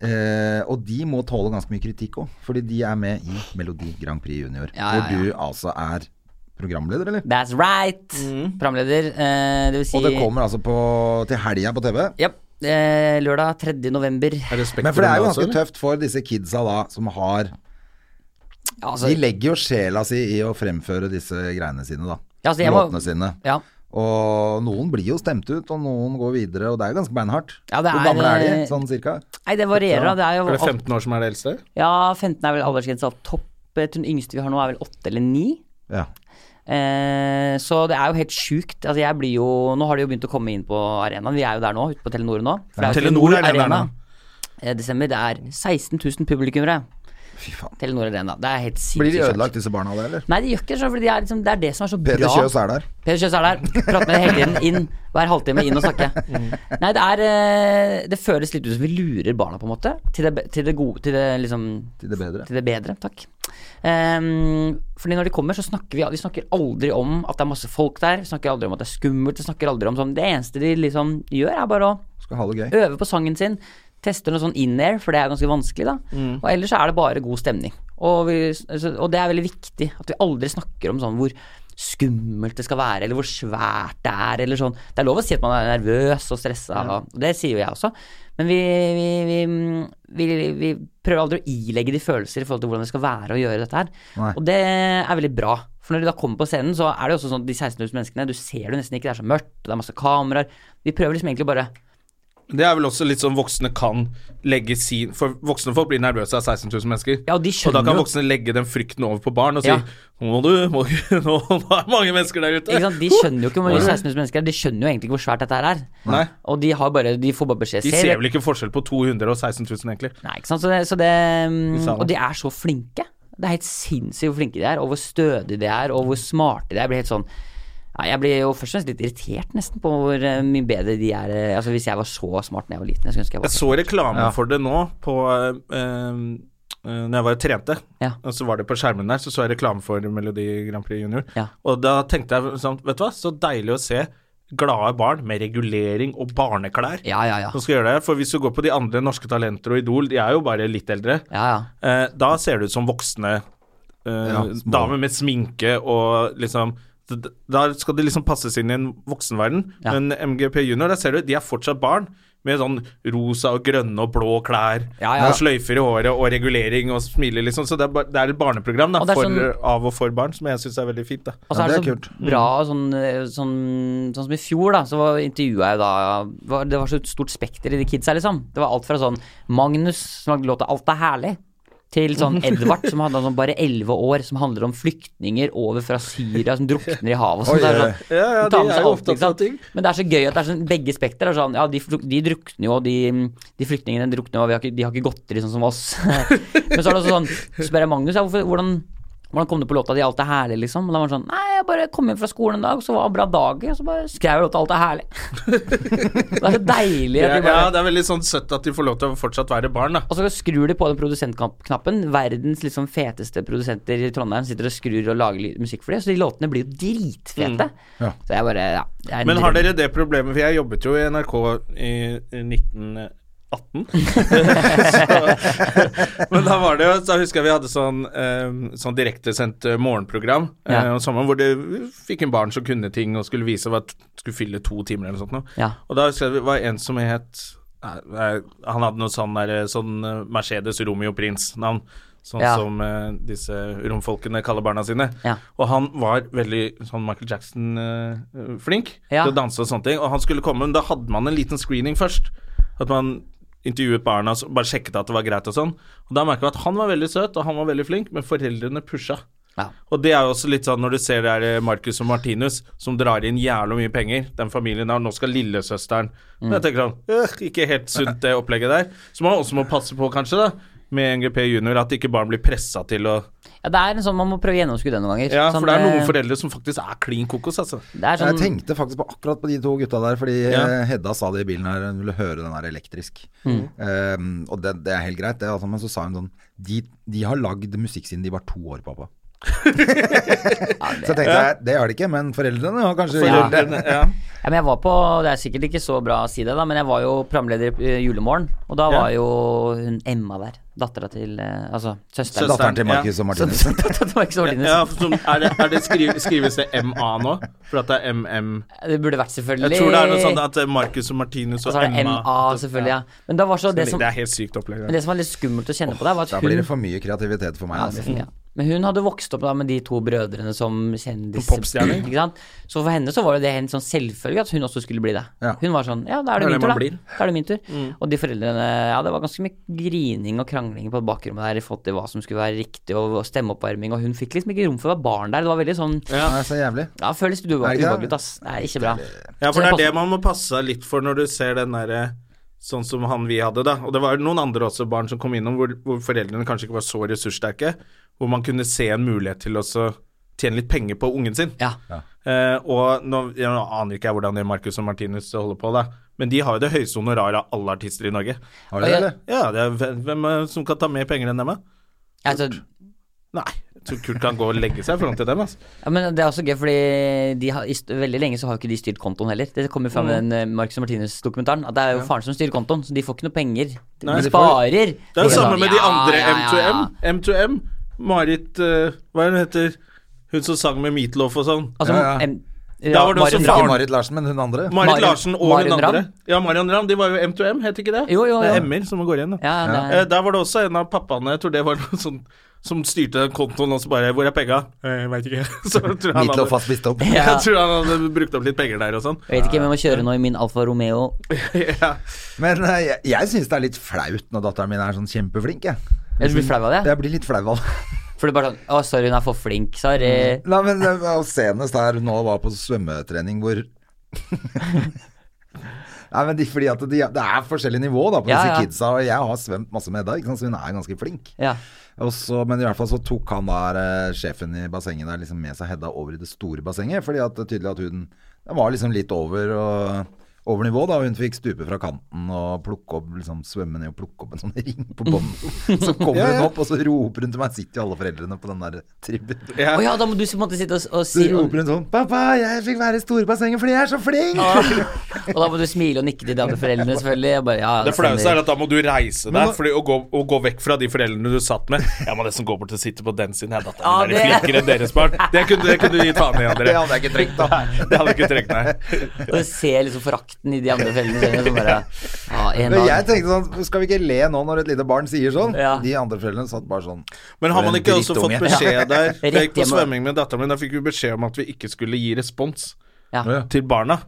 Eh, og de må tåle ganske mye kritikk òg, fordi de er med i Melodi Grand Prix Junior.
Ja, ja,
Hvor du altså er programleder, eller?
That's right! Programleder. Eh, det vil si
Og det kommer altså på, til helga på TV.
Ja. Eh, lørdag 3. november.
Er det Spektrum
Men for det er jo
da også,
ganske
eller?
tøft for disse kidsa da, som har
Altså- Ja, altså,
De legger jo sjela si i å fremføre disse greiene sine, da.
Ja, altså, jeg må-
Låtene sine.
ja.
Og noen blir jo stemt ut, og noen går videre, og det er jo ganske beinhardt.
Ja, det
Hvor
er- eh,
gamle er de, sånn cirka?
Nei, det varierer, da. Det er jo
Er det
alt-
15 år som er det eldste?
Ja, 15 er vel aldersgrensa opp topp. Jeg tror Den yngste vi har nå, er vel 8 eller 9.
Ja.
Eh, så det er jo helt sjukt. Altså, jeg blir jo Nå har de jo begynt å komme inn på arenaen. Vi er jo der nå, ute på Telenor nå. For det er jo
Telenor er den der nå.
eh, desember. Det er 16 000 publikummere.
Fy faen.
Telenor Arena. Det er helt sinnssykt.
Blir de
svært.
ødelagt, disse barna av det, eller?
Nei, de gjør ikke det. så- Fordi de er liksom, det er det som er så bra.
Peder Kjøs er der.
Peder Kjøs er der. Prater med deg hele tiden. Inn hver halvtime, inn og snakke. Nei, det er eh, Det føles litt ut som vi lurer barna, på en måte. Til det, be- til det gode Til det liksom
Til det bedre.
Til det bedre, takk. Um, fordi når de kommer, så snakker vi, vi snakker aldri om at det er masse folk der. Vi snakker aldri om at det er skummelt. Vi snakker aldri om sånn Det eneste de liksom gjør, er bare å
Skal ha det gøy.
øve på sangen sin, tester noe sånn in-air, for det er ganske vanskelig, da.
Mm.
Og ellers så er det bare god stemning. Og, vi, så, og det er veldig viktig at vi aldri snakker om sånn hvor skummelt det skal være, eller hvor svært det er, eller sånn. Det er lov å si at man er nervøs og stressa, og det sier jo jeg også. Men vi, vi, vi, vi, vi prøver aldri å ilegge de følelser i forhold til hvordan det skal være å gjøre dette her.
Nei.
Og det er veldig bra. For når de da kommer på scenen, så er det jo også sånn at de 16 000 menneskene, du ser det jo nesten ikke, det er så mørkt, og det er masse kameraer. Vi prøver liksom egentlig bare
Det er vel også litt sånn voksne kan legge sin For voksne folk blir nervøse av 16 000 mennesker.
Ja, og
og da
de skjønner
kan
jo-
voksne legge den frykten over på barn og si
Ja.
Nå må du, må, nå, nå er det mange mennesker der ute.
Ikke sant? De skjønner jo ikke hvor mange 16 000 mennesker er, de skjønner jo egentlig ikke hvor svært dette her er.
Nei.
Og de, har bare, de får bare beskjed
De
«Se
ser
det».
vel ikke forskjell på 200 og 16 000, egentlig.
Nei, ikke sant? Så det, så det, mm,
sa det.
og de er så flinke. Det er helt sinnssykt hvor flinke de er, og hvor stødige de er, og hvor smarte de er. Jeg blir helt sånn ja, Jeg blir jo først og fremst litt irritert nesten på hvor eh, mye bedre de er. eh, Altså Hvis jeg var så smart da jeg var liten, jeg skulle ønske jeg
Jeg
var
så reklame for det nå på eh, eh, Når jeg var og trente,
Ja.
og så var det på skjermen der, så så jeg reklame for Melodi Grand Prix Junior.
Ja.
Og da tenkte jeg sånn Vet du hva, så deilig å se glade barn med regulering og barneklær.
Ja, ja, ja.
som skal gjøre det. For hvis du går på de andre norske talenter og Idol, de er jo bare litt eldre,
Ja, ja.
eh, da ser det ut som voksne eh,
Ja, små.
damer med sminke og liksom d- d- Da skal de liksom passes inn i en voksenverden.
Ja.
Men MGP Junior, der ser du, de er fortsatt barn. Med sånn rosa og grønne og blå klær
Ja, ja.
og sløyfer i håret og regulering og smiler, liksom. Så det er, ba- det er et barneprogram da,
Og det er
for,
sånn-
av og for barn, som jeg syns er veldig fint. da.
Og så
Ja,
er det,
det er
så bra og sånn, eh, sånn, sånn som i fjor, da, så var- intervjua jeg da var, Det var så stort spekter i de kidsa, liksom. Det var alt fra sånn Magnus, som lagde låta 'Alt er herlig', til sånn Edvard, som handla om sånn bare elleve år, som handler om flyktninger over fra Syria som drukner i havet og sånn.
Oi,
Det er
oi,
sånn
Ja, ja,
de tar
de
med
er
seg
jo
alt,
opptatt
ikke
av
sant.
ting.
Men det er så gøy at det er sånn begge spekter er sånn Ja, de, fluk- de drukner jo, og de, de flyktningene drukner jo, og vi har ikke, de har ikke godteri sånn som oss. Men så er det også sånn Så spør jeg Magnus ja, hvorfor, hvordan, hvordan kom du på låta di 'Alt er herlig', liksom? Og da var han sånn Nei, jeg bare kom hjem fra skolen en dag, og så var det en bra dag, og så bare skrev jeg låta 'Alt er herlig'. det er så deilig at
Ja,
de bare
det er veldig sånn søtt at de får lov til å fortsatt være barn, da.
og så skrur de på den produsentknappen. Verdens liksom feteste produsenter i Trondheim sitter og skrur og lager ly- musikk for dem. Så de låtene blir jo dritfete.
Ja.
Så jeg bare ja, det er
Mm.
en
Men har
drøm.
dere det problemet, for jeg jobbet jo i NRK i 1918. så, men da var det jo Da husker jeg vi hadde sånn, eh, sånn direktesendt eh, morgenprogram eh,
Ja.
om sommeren hvor det fikk en barn som kunne ting og skulle vise hva skulle fylle to timer eller noe sånt. nå.
Ja.
Og da husker jeg det var en som het nei, nei, Han hadde noe sånn, der, sånn eh, Mercedes Romeo Prins-navn. Sånn
Ja.
som eh, disse romfolkene kaller barna sine.
Ja.
Og han var veldig sånn Michael Jackson-flink
Ja.
til å danse og sånne ting. Og han skulle komme, men da hadde man en liten screening først. At man intervjuet barna og bare sjekket at det var greit og sånn. Og da merka vi at han var veldig søt, og han var veldig flink, men foreldrene pusha.
Ja.
Og det er jo også litt sånn når du ser det er Marcus og Martinus som drar inn jævla mye penger. Den familien har Nå skal eh, lillesøsteren Men jeg tenker sånn øh, Ikke helt sunt det opplegget der. Som man også må passe på, kanskje, da. med NGP junior, at ikke barn blir pressa til å
Ja, det er en sånn man må prøve å gjennomskue det noen ganger.
Ja, for
Sånn,
det er
eh,
noen foreldre som faktisk er klin kokos, altså.
det er
Jeg
sånn,
tenkte faktisk på akkurat på de to gutta der, fordi
Ja.
eh, Hedda sa det i bilen her, hun ville høre den der elektrisk.
Mm.
Eh, og det, det er helt greit, det, altså, men så sa hun sånn de, de har lagd musikk siden de var to år, pappa. så tenkte jeg, det har de ikke, men foreldrene har kanskje gjort det.
Foreldrene, ja.
ja, men jeg var på Det er sikkert ikke så bra å si det, da, men jeg var jo programleder i eh, Julemorgen, og da
Ja.
var jo hun Emma der. Dattera til eh, Altså søsteren.
Datteren til Marcus og Martinus.
det var ikke så ordentlig.
Ja, for som, er det, er det skriv, skrives det MA nå? For at det er MM
Det burde vært selvfølgelig
Jeg tror det er noe sånn at det er Marcus og Martinus
Og
og
så er det
MA
MA, Altså, selvfølgelig. ja Men da var så det som
Det er helt sykt opplegg.
Men det som var litt skummelt å kjenne på der, var
Da
at
blir
hun
det for mye kreativitet for meg.
ja, det
Altså.
blir for mye, ja. Men hun hadde vokst opp da med de to brødrene som kjendiser.
Som popstjerner.
Ikke sant? Så for henne så var jo det helt sånn selvfølge at hun også skulle bli det.
Ja.
Hun var sånn Ja, da er
Det er det
det min tur,
man
da.
blir.
Da er det min tur. Og de foreldrene Ja, det var ganske mye grining og krangling på bakrommet der i forhold til hva som skulle være riktig, og og stemmeoppvarming, og hun fikk liksom ikke rom for å være barn der. Det var veldig sånn
Det er så jævlig.
Ja, føles
Er
du
det ikke
ubehagelig
det?
ut, ass. Nei, ikke bra.
Ja,
Så
for det er
passer-
det man må passe seg litt for når du ser den derre Sånn som han vi hadde, da. Og det var noen andre også barn som kom innom hvor, hvor foreldrene kanskje ikke var så ressurssterke, hvor man kunne se en mulighet til å så tjene litt penger på ungen sin.
Ja.
Eh, og nå, jeg aner ikke jeg hvordan det Marcus og Martinus holder på, da. men de har jo det høyeste honoraret av alle artister i Norge.
Har du det, eller?
Ja, det er, hvem- hvem er det som kan ta mer penger enn dem, da?
Altså,
Nei, jeg tror Kurt kan gå og legge seg i forhold til dem, altså.
Ja, men Det er også gøy, fordi de har, i st- veldig lenge så har jo ikke de styrt kontoen heller. Det kommer
Mm.
fram i den eh, Marcus og Martinus-dokumentaren at det er jo faren som styrer kontoen, så de får ikke noe penger. De
Nei, de får-
sparer.
Det er jo
Ja,
samme med de
ja,
andre
ja, ja, ja.
M2M. M2M. Marit eh, Hva er hun heter? Hun som sang med Meatloaf og sånn.
Altså,
Ja, ja.
M- eh,
Da var det også
Maren
faren-
Ramm.
Ikke Marit Larsen, men hun andre.
Marit
Marion-
Larsen og
Marion
hun andre.
Ramm.
Ja, Marion Ramm. De var jo M2M, het ikke det?
Jo, jo,
Det
jo.
er M-er som går igjen, da.
Ja, det
Eh,
er,
der var det også en av pappaene, jeg tror det var noen sånn som styrte den kontoen og så bare 'Hvor er penga?' Eh, Jeg veit ikke. Så jeg tror han
Meatloaf
hadde,
har spist opp.
Ja.
jeg tror han hadde brukt opp litt penger der og sånn.
jeg vet ikke, men jeg må kjøre nå i min Alfa Romeo.
Ja.
Men eh, jeg, jeg syns det er litt flaut når datteren min er sånn kjempeflink, jeg.
Jeg blir flau av det.
Jeg blir litt flau av det.
For det er bare sånn Å, sorry, hun er for flink.
Mm.
Sorry.
Nei, men det var senest her nå var på svømmetrening hvor Nei, men de, fordi at de, Det er forskjellig nivå da på
Ja,
disse
ja.
kidsa, og jeg har svømt masse med Hedda, ikke sant, så hun er ganske flink.
Ja.
Og så, men i hvert fall så tok han der eh, sjefen i bassenget der liksom med seg Hedda over i det store bassenget, fordi at det er tydelig at hun den var liksom litt over og over nivå da, og Hun fikk stupe fra kanten og plukke opp, liksom svømme ned og plukke opp en sånn ring på bånden. Så kommer hun opp, og så roper hun til meg. Sitter jo alle foreldrene på den der tribunen.
Å ja, da må du på en måte sitte og, og
Så
si og,
roper hun sånn 'Pappa, jeg fikk være i storbassenget fordi jeg er så flink!'
og da må du smile og nikke til de andre foreldrene, selvfølgelig. Jeg bare, ja,
Det flaueste
stemmer.
er at da må du reise deg fordi å, gå, å gå vekk fra de foreldrene du satt med. Jeg må nesten gå bort og sitte på den siden. Jeg, datteren min er
Ja, det-
flinkere enn deres barn. Det kunne, det kunne du gi faen i, André.
Det hadde jeg ikke trengt, da.
Nei, det hadde du ikke trengt, nei.
Og du ser liksom forakten i de andre foreldrene sine. Som bare ja, en
Men
dag.
jeg tenkte sånn Skal vi ikke le nå når et lite barn sier sånn?
Ja.
De andre foreldrene satt bare sånn.
Men har
For
man
en
ikke også fått
drittunge.
beskjed der Da jeg gikk på
Rett hjemme.
svømming med datteren min, da fikk vi beskjed om at vi ikke skulle gi respons
Ja.
til barna.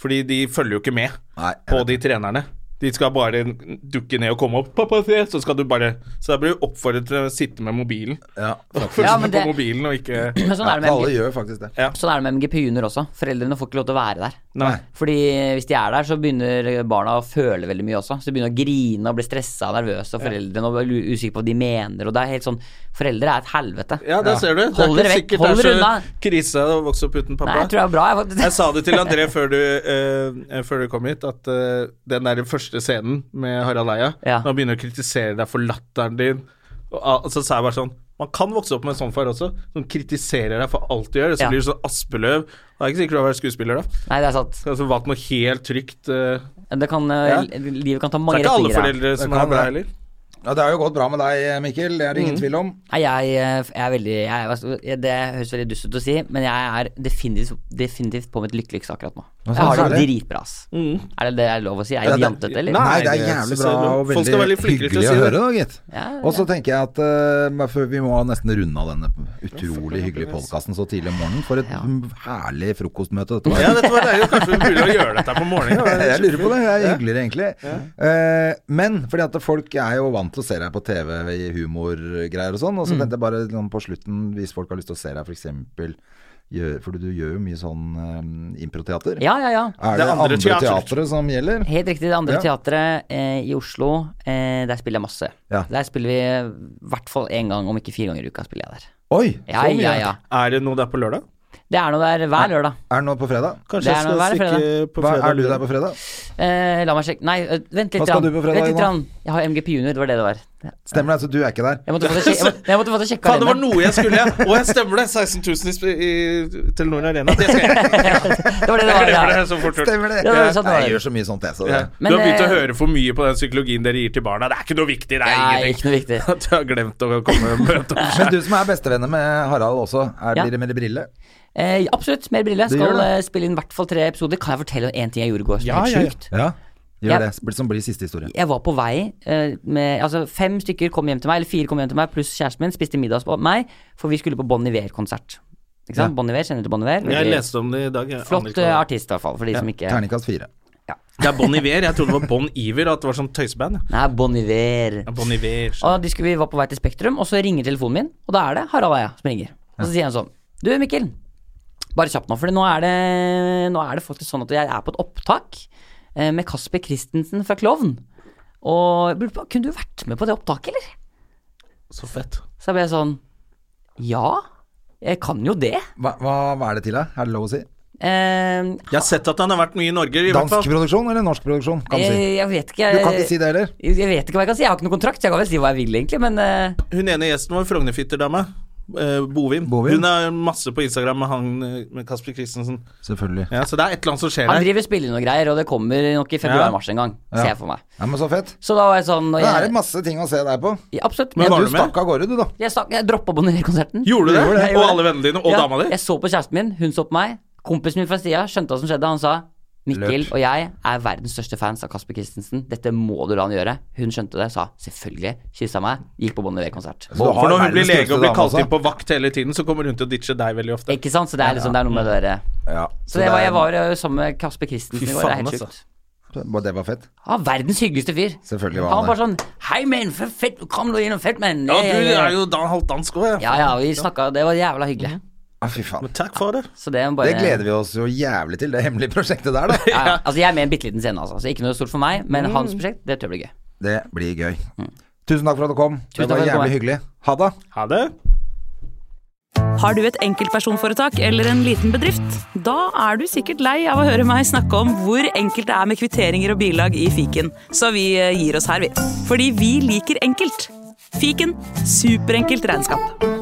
Fordi de følger jo ikke med
Nei.
på de trenerne. De skal bare dukke ned og komme opp. Pappa, se! Så skal du bare Så da blir du oppfordret til å sitte med mobilen.
Ja.
Følge
Ja, men
med
det-
på mobilen og ikke
Men sånn er det
Alle
med,
gjør faktisk det.
sånn er det med MGP Junior også. Foreldrene får ikke lov til å være der.
Nei.
Fordi hvis de er der, så begynner barna å føle veldig mye også. Så de begynner å grine og bli stressa og nervøse, og foreldrene og blir usikre på hva de mener. Og det er helt sånn Foreldre er et helvete.
Ja, der ser du. Det er
Hold dere
ikke
vekk,
sikkert
hold
det
dere
er
unna.
så krise å vokse opp uten pappa.
Nei, jeg tror det er bra. Jeg, faktisk.
Jeg sa det til André før du, eh, før du kom hit, at eh, den der første scenen med Harald Eia
Ja.
Når han begynner å kritisere deg for latteren din, og, og så sa jeg bare sånn Man kan vokse opp med en sånn far også, som kritiserer deg for alt du gjør, og så
Ja.
blir du sånn Aspeløv. Det er ikke sikkert du har vært skuespiller, da.
Nei, det er sant.
Så altså, valgt noe helt trygt. eh,
Det kan,
Ja.
Livet kan ta
Det
mange
er ikke alle
retninger. her.
foreldre som
kan
er bra
det.
heller.
Ja, det har jo gått bra med deg, Mikkel. Det er det
Mm.
ingen tvil om.
Nei, jeg, eh, jeg er veldig jeg, altså, jeg- Det høres veldig dust ut å si, men jeg er definitivt, definitivt på mitt lykkeligste akkurat nå. Jeg
så
har det
herlig.
dritbra, ass. Er det det er lov å si? Er
Mm. Ja,
jeg
det-
jantete, eller?
Nei, det er
det
jævlig
synes
bra
jeg er bra.
og
Folk skal være
veldig
litt flinkere til å
hyggelig å
si det.
høre, da, gitt.
Ja,
Og så tenker jeg at eh, bare før vi må nesten runde av denne utrolig hyggelige podkasten så tidlig om morgenen. For et mm, herlig frokostmøte dette var.
Ja, dette var deilig. Kanskje vi burde gjøre dette her på morgenen.
Jeg lurer på det. Det er hyggeligere, egentlig. Eh, men fordi at folk er jo vant til å se deg på TV
Mm.
i humorgreier og sånn. Og så tenkte jeg bare liksom, på slutten, hvis folk har lyst til å se deg f.eks. gjør, for du gjør jo mye sånn eh, improteater.
Ja, ja, ja.
Er
Det
det,
er andre
andre,
teater.
teatret som gjelder?
Helt riktig. Det andre
Ja.
teatret eh, i Oslo, eh, der spiller jeg masse.
Ja.
Der spiller vi i hvert fall én gang, om ikke fire ganger i uka. spiller jeg der.
Oi,
Ja,
så mye.
ja, ja.
Er det noe der på lørdag?
Det er noe der hver lørdag.
Er det noe på fredag?
Kanskje
Det
jeg
er noe
skal
hver
stikke på
Hva,
fredag?
er du der på fredag?
Eh, la meg sjekke Nei, ø, vent litt.
Hva skal
grann.
du på fredag,
Vent litt
Ingmar?
grann. Jeg har MGP junior, det var det det var.
Stemmer det, altså du er ikke der.
Jeg måtte få det sjekke, jeg måtte, jeg måtte få det sjekka
Faen, det var
alene.
noe jeg skulle! Å, jeg stemmer det! 16 000 i, sp- i Telenor Arena. Det skal jeg.
Det var det
Jeg
det var,
glemmer det
ja.
så fort gjort.
Stemmer det?
Ja, det er sånn det
Nei,
er.
jeg gjør så mye sånt, jeg. Så det.
Ja.
Men,
du har begynt å
eh,
høre for mye på den psykologien dere gir til barna. Det er ikke noe viktig, det er
Nei,
ingenting.
ikke noe viktig.
At du har glemt å komme og møte opp.
Men du som er bestevenner med Harald også, er
Ja.
blir det med de briller?
Eh, ja, absolutt. Mer briller.
Du
Skal
gjør det.
eh, spille inn i hvert fall tre episoder. Kan jeg fortelle om én ting jeg gjorde i går som
Ja,
er helt
ja, ja.
sjukt?
Ja. Gjør
Ja.
det. Blir- Som blir siste historie.
Jeg var på vei eh, med Altså, fem stykker kom hjem til meg, eller fire kom hjem til meg, pluss kjæresten min, spiste middag hos meg, for vi skulle på Bon Iver-konsert. Ikke sant? Bon Iver, kjenner du til Bon Iver?
Jeg
Veldig
leste om det i dag. jeg aner
Flott
ikke
eh,
hva det
artist, i hvert fall, for de som ikke
Terningkast fire.
er. Det er Bon Iver. Jeg trodde det var Bon Iver, at det var sånn tøyseband. ja.
Nei, Bon Iver.
Ja, Bon Iver. så-
Og de skulle, vi var på vei til Spektrum, og så ringer telefonen min, og da er det Harald Eia som ringer. Og så sier han sånn Du, Mikkel, bare kjapt nå, for nå er det, nå er det faktisk sånn at jeg er på et opptak eh, med Kasper Christensen fra Klovn. Og jeg lurer på, kunne du vært med på det opptaket, eller?
Så fett.
Så jeg ble sånn Ja, jeg kan jo det.
Hva, hva, hva er det til, da? Er det lov å si?
Eh,
Jeg har sett at han har vært mye i Norge, i hvert
Dansk
fall.
produksjon eller norsk produksjon? Kan du
jeg,
si.
jeg vet ikke
Du kan ikke si det heller.
Jeg jeg vet ikke hva jeg kan si. Jeg har ikke noen kontrakt, så jeg kan vel si hva jeg vil, egentlig. Men eh,
Hun ene gjesten vår, Frognerfitter-dama. eh, Bovim.
Bovim.
Hun er masse på Instagram med han eh, med Kasper Christensen.
Selvfølgelig.
Ja, så det er et eller annet som skjer
han
der.
driver og spiller noen greier, og det kommer nok i februar-mars en gang, ser jeg for meg.
Ja, men så fett.
Så da var jeg sånn
Det
og
er
jeg,
det masse ting å se deg på.
Ja, Absolutt.
Men
Jeg,
var
Du
du med?
stakk av gårde, du, da.
jeg, stakk- jeg droppa Bonnier-konserten.
Gjorde du det?
Jeg gjorde
Og alle vennene dine, og
Ja,
dama di?
Jeg så på kjæresten min, hun så på meg. Kompisen min fra sida skjønte hva som skjedde. Han sa Mikkel
Løp.
og jeg er verdens største fans av Kasper Christensen. Dette må du la han gjøre. Hun skjønte det, sa selvfølgelig. Kyssa meg, gikk på Bon Iver-konsert.
Så du har
For når hun blir
verdens
lege
kuleste
og blir
dame
kalt
også.
inn på vakt hele tiden, så kommer hun til å ditche deg veldig ofte.
Ikke sant? Så det er liksom det er noe
Mm.
med det å gjøre.
Ja.
Så det var, jeg
er-
var jo sammen med Kasper Christensen
Fy
i går. Det er
faen,
helt
altså.
sjukt.
Bare Det var fett.
Han var verdens hyggeligste fyr.
Selvfølgelig var
Han var
han
bare sånn Hei, men, for fett, kom nå innom, fett, men.
Ja, du er jo dan halvt dansk òg, ja.
Ja, ja, vi snakka, det var jævla hyggelig.
Ja, fy faen.
Men takk for det.
Så det, må bare,
Det gleder vi oss jo jævlig til, det hemmelige prosjektet der, da.
Ja, ja. Altså, jeg er med i en bitte liten scene, altså. Så ikke noe stort for meg, men hans prosjekt, det tror jeg blir gøy.
Det blir gøy. Tusen takk for at du kom.
Mm.
Det
Tusen takk for
var
at du kom.
jævlig hyggelig. Ha det.
Ha det.
Har du et enkeltpersonforetak eller en liten bedrift? Da er du sikkert lei av å høre meg snakke om hvor enkelt det er med kvitteringer og bilag i fiken, så vi eh, gir oss her, vi. Fordi vi liker enkelt. Fiken superenkelt regnskap.